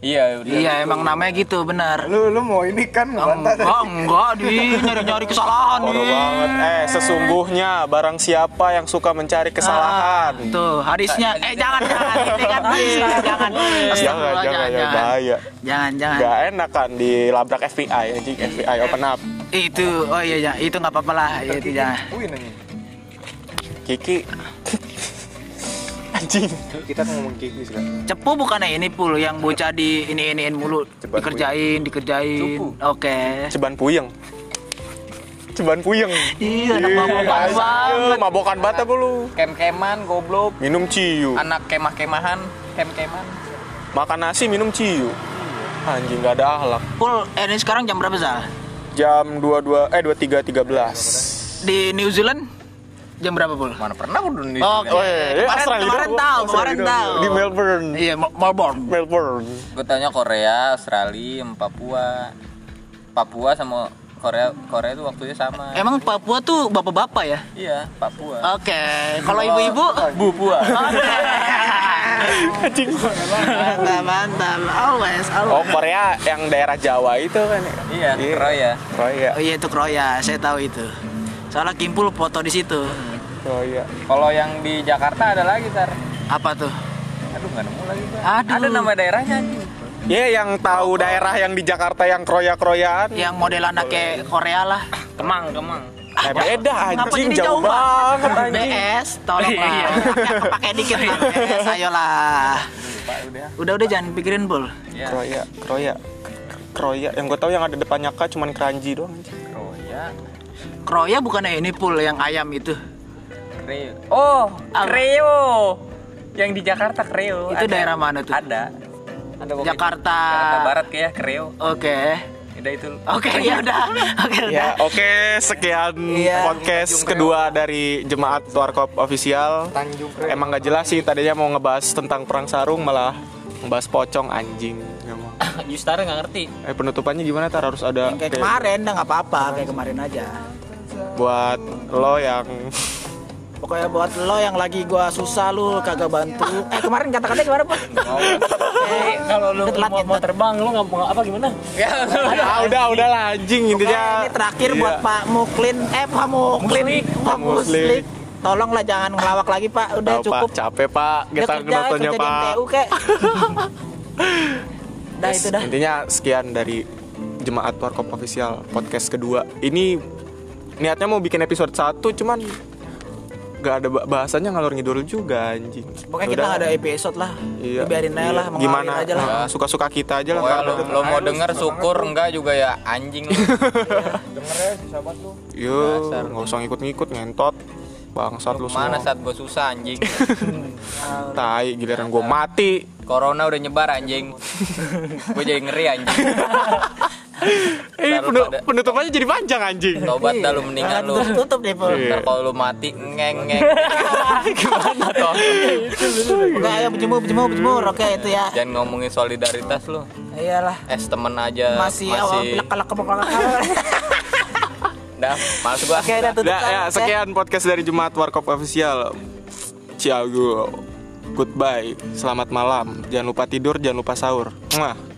[SPEAKER 3] iya udah.
[SPEAKER 2] Iya, emang namanya gitu, benar.
[SPEAKER 4] Lu lu mau ini kan ngebantah
[SPEAKER 2] Enggak, enggak, di nyari-nyari kesalahan
[SPEAKER 1] Parah
[SPEAKER 2] nih.
[SPEAKER 1] banget. Eh, sesungguhnya barang siapa yang suka mencari kesalahan.
[SPEAKER 2] Tuh, hadisnya eh jangan jangan ini kan jangan jangan.
[SPEAKER 1] Iya jangan,
[SPEAKER 2] Astagfirullah,
[SPEAKER 1] jangan, ya bahaya.
[SPEAKER 2] Jangan, jangan.
[SPEAKER 1] Gak enak kan dilabrak FBI anjing FBI open up.
[SPEAKER 2] Itu, oh iya, jangan. itu nggak apa-apa lah, iya, itu jangan.
[SPEAKER 4] Wih nanya.
[SPEAKER 1] Kiki. anjing.
[SPEAKER 4] Kita kan ngomong Kiki sekarang.
[SPEAKER 2] Cepu bukannya ini pul yang bocah di ini iniin mulu,
[SPEAKER 4] Cepat,
[SPEAKER 2] dikerjain, dikerjain.
[SPEAKER 3] Cupu.
[SPEAKER 2] Oke.
[SPEAKER 1] Ceban puyeng. Ceban puyeng.
[SPEAKER 2] Iya, anak bapak
[SPEAKER 1] Iya,
[SPEAKER 2] banget.
[SPEAKER 1] Mabokan banget apa lu?
[SPEAKER 3] Kem-keman goblok.
[SPEAKER 1] Minum ciu.
[SPEAKER 3] Anak kemah-kemahan, kem-keman.
[SPEAKER 1] Makan nasi minum ciu. Anjing gak ada akhlak.
[SPEAKER 2] Pul, eh, ini sekarang jam berapa Zal?
[SPEAKER 1] Jam 22 eh 23.13.
[SPEAKER 2] Di New Zealand jam berapa pul?
[SPEAKER 3] Mana pernah udah nih.
[SPEAKER 2] Oke.
[SPEAKER 1] Eh,
[SPEAKER 2] Kemarin-
[SPEAKER 1] Australia
[SPEAKER 2] kemarin
[SPEAKER 1] doang.
[SPEAKER 2] tahu,
[SPEAKER 1] Australia
[SPEAKER 2] kemarin
[SPEAKER 1] doang.
[SPEAKER 2] tahu.
[SPEAKER 1] Di Melbourne.
[SPEAKER 2] Iya, Mel- Melbourne.
[SPEAKER 1] Melbourne.
[SPEAKER 3] Gue tanya Korea, Australia, sama Papua. Papua sama Korea Korea itu waktunya sama.
[SPEAKER 2] Emang Papua tuh bapak-bapak ya?
[SPEAKER 3] Iya, Papua.
[SPEAKER 2] Oke, kalau ibu-ibu
[SPEAKER 3] Bupua.
[SPEAKER 2] mantap, mantap, always,
[SPEAKER 1] Oh,
[SPEAKER 2] always.
[SPEAKER 1] Korea yang daerah Jawa itu kan. ya?
[SPEAKER 3] iya, Korea.
[SPEAKER 1] Korea.
[SPEAKER 2] Oh iya itu Kroya, saya tahu itu. Soalnya Kimpul foto di situ.
[SPEAKER 1] Korea.
[SPEAKER 3] Kalau yang di Jakarta ada lagi, Tar.
[SPEAKER 2] Apa tuh?
[SPEAKER 3] Aduh, nggak nemu lagi, Tar.
[SPEAKER 2] Aduh.
[SPEAKER 3] Ada nama daerahnya, anjing.
[SPEAKER 1] Ya yang tahu daerah yang di Jakarta yang kroya-kroyaan.
[SPEAKER 2] Yang model anak kayak Korea lah.
[SPEAKER 5] Kemang, kemang.
[SPEAKER 1] Eh, beda
[SPEAKER 2] Ngapa
[SPEAKER 1] anjing
[SPEAKER 2] jadi
[SPEAKER 1] jauh
[SPEAKER 2] jauh banget?
[SPEAKER 1] banget anjing.
[SPEAKER 2] BS, tolonglah. Pakai dikit lah. BS, ayolah. Udah udah jangan pikirin bul.
[SPEAKER 1] Kroya, Kroya. Kroya yang gue tahu yang ada depannya K cuman keranji doang anjing.
[SPEAKER 3] Korea.
[SPEAKER 2] Kroya bukannya ini pul yang ayam itu.
[SPEAKER 3] Kreo. Oh,
[SPEAKER 2] Apa?
[SPEAKER 3] Kreo. Yang di Jakarta
[SPEAKER 2] Oh,
[SPEAKER 3] Kreo.
[SPEAKER 2] Itu daerah mana tuh?
[SPEAKER 3] Ada. Ada
[SPEAKER 2] Jakarta.
[SPEAKER 3] kok gitu. Jakarta Barat
[SPEAKER 5] ya,
[SPEAKER 3] kayak Kreo.
[SPEAKER 2] Oke.
[SPEAKER 3] Udah itu.
[SPEAKER 2] Oke, ya udah. Oke, udah.
[SPEAKER 1] Ya, oke sekian
[SPEAKER 2] Iya.
[SPEAKER 1] podcast kedua dari jemaat Warkop official. Emang nggak jelas sih tadinya mau ngebahas tentang perang sarung malah ngebahas pocong anjing. Nggak mau.
[SPEAKER 5] Justara nggak ngerti.
[SPEAKER 1] Eh penutupannya gimana tar harus ada
[SPEAKER 2] Kayak
[SPEAKER 1] kayak
[SPEAKER 2] kemarin, udah nggak apa-apa, kayak kemarin aja.
[SPEAKER 1] buat lo yang
[SPEAKER 2] Pokoknya buat lo yang lagi gua susah lu kagak bantu. Eh kemarin kata-katanya gimana pul?
[SPEAKER 5] Eh, kalau lu
[SPEAKER 2] Telat, Eh,
[SPEAKER 5] mau, mau terbang, lu nggak mau apa gimana?
[SPEAKER 1] ah, udah udah lah anjing
[SPEAKER 2] Eh,
[SPEAKER 1] intinya.
[SPEAKER 2] ini terakhir buat
[SPEAKER 1] Iya.
[SPEAKER 2] Pak Muklin, eh Pak Muklin, Pak Muslik, tolonglah jangan ngelawak lagi pak udah
[SPEAKER 1] Tahu,
[SPEAKER 2] cukup
[SPEAKER 1] Pak, capek Pak,
[SPEAKER 2] Udah
[SPEAKER 1] kita
[SPEAKER 2] kerja
[SPEAKER 1] nontonnya
[SPEAKER 2] kerja di
[SPEAKER 1] Pak.
[SPEAKER 2] MTU kek dah
[SPEAKER 1] Yes,
[SPEAKER 2] itu dah
[SPEAKER 1] Intinya sekian dari Jemaat Warkop Official podcast kedua. Ini niatnya mau bikin episode 1 cuman gak ada ba- bahasanya ngalor ngidul juga anjing.
[SPEAKER 2] pokoknya kita nggak ada episode lah
[SPEAKER 1] Iya,
[SPEAKER 2] biarin aja
[SPEAKER 1] iya.
[SPEAKER 2] lah mengalir
[SPEAKER 1] Gimana?
[SPEAKER 2] aja lah
[SPEAKER 1] Nah, Suka-suka kita aja lah.
[SPEAKER 3] Pokoknya
[SPEAKER 1] nggak
[SPEAKER 3] lo,
[SPEAKER 1] ada-
[SPEAKER 3] lo mau denger syukur enggak juga ya anjing lu.
[SPEAKER 1] Yo,
[SPEAKER 3] Dasar.
[SPEAKER 1] Iya, nggak usah ngikut-ngikut ngentot. Bangsat lu semua.
[SPEAKER 3] Mana saat gue susah anjing.
[SPEAKER 1] Tai giliran gue mati.
[SPEAKER 3] Corona udah nyebar anjing. gue jadi ngeri anjing.
[SPEAKER 1] Eh,
[SPEAKER 3] Ntar lu
[SPEAKER 1] penu-
[SPEAKER 3] pada-
[SPEAKER 1] penutupannya jadi panjang anjing.
[SPEAKER 3] Tobat dah lu mendingan lu.
[SPEAKER 2] tutup tutup deh Pul.
[SPEAKER 1] Iya.
[SPEAKER 3] Ntar kalau lu mati ngeng ngeng. Gimana toh?
[SPEAKER 2] Enggak, ayo berjemur, berjemur, berjemur. Oke, itu ya.
[SPEAKER 1] Iya.
[SPEAKER 3] Jangan ngomongin solidaritas lu.
[SPEAKER 2] Iyalah.
[SPEAKER 3] Es temen aja
[SPEAKER 2] Masih awal
[SPEAKER 3] masih.
[SPEAKER 2] pelak-pelak kepok-pelak.
[SPEAKER 3] Dah, males gua.
[SPEAKER 2] Oke, udah tutup.
[SPEAKER 1] Dah, ya, sekian podcast dari Jumat Warkop Official. Ciao. Goodbye. Selamat malam. Jangan lupa tidur, jangan lupa sahur. Mwah.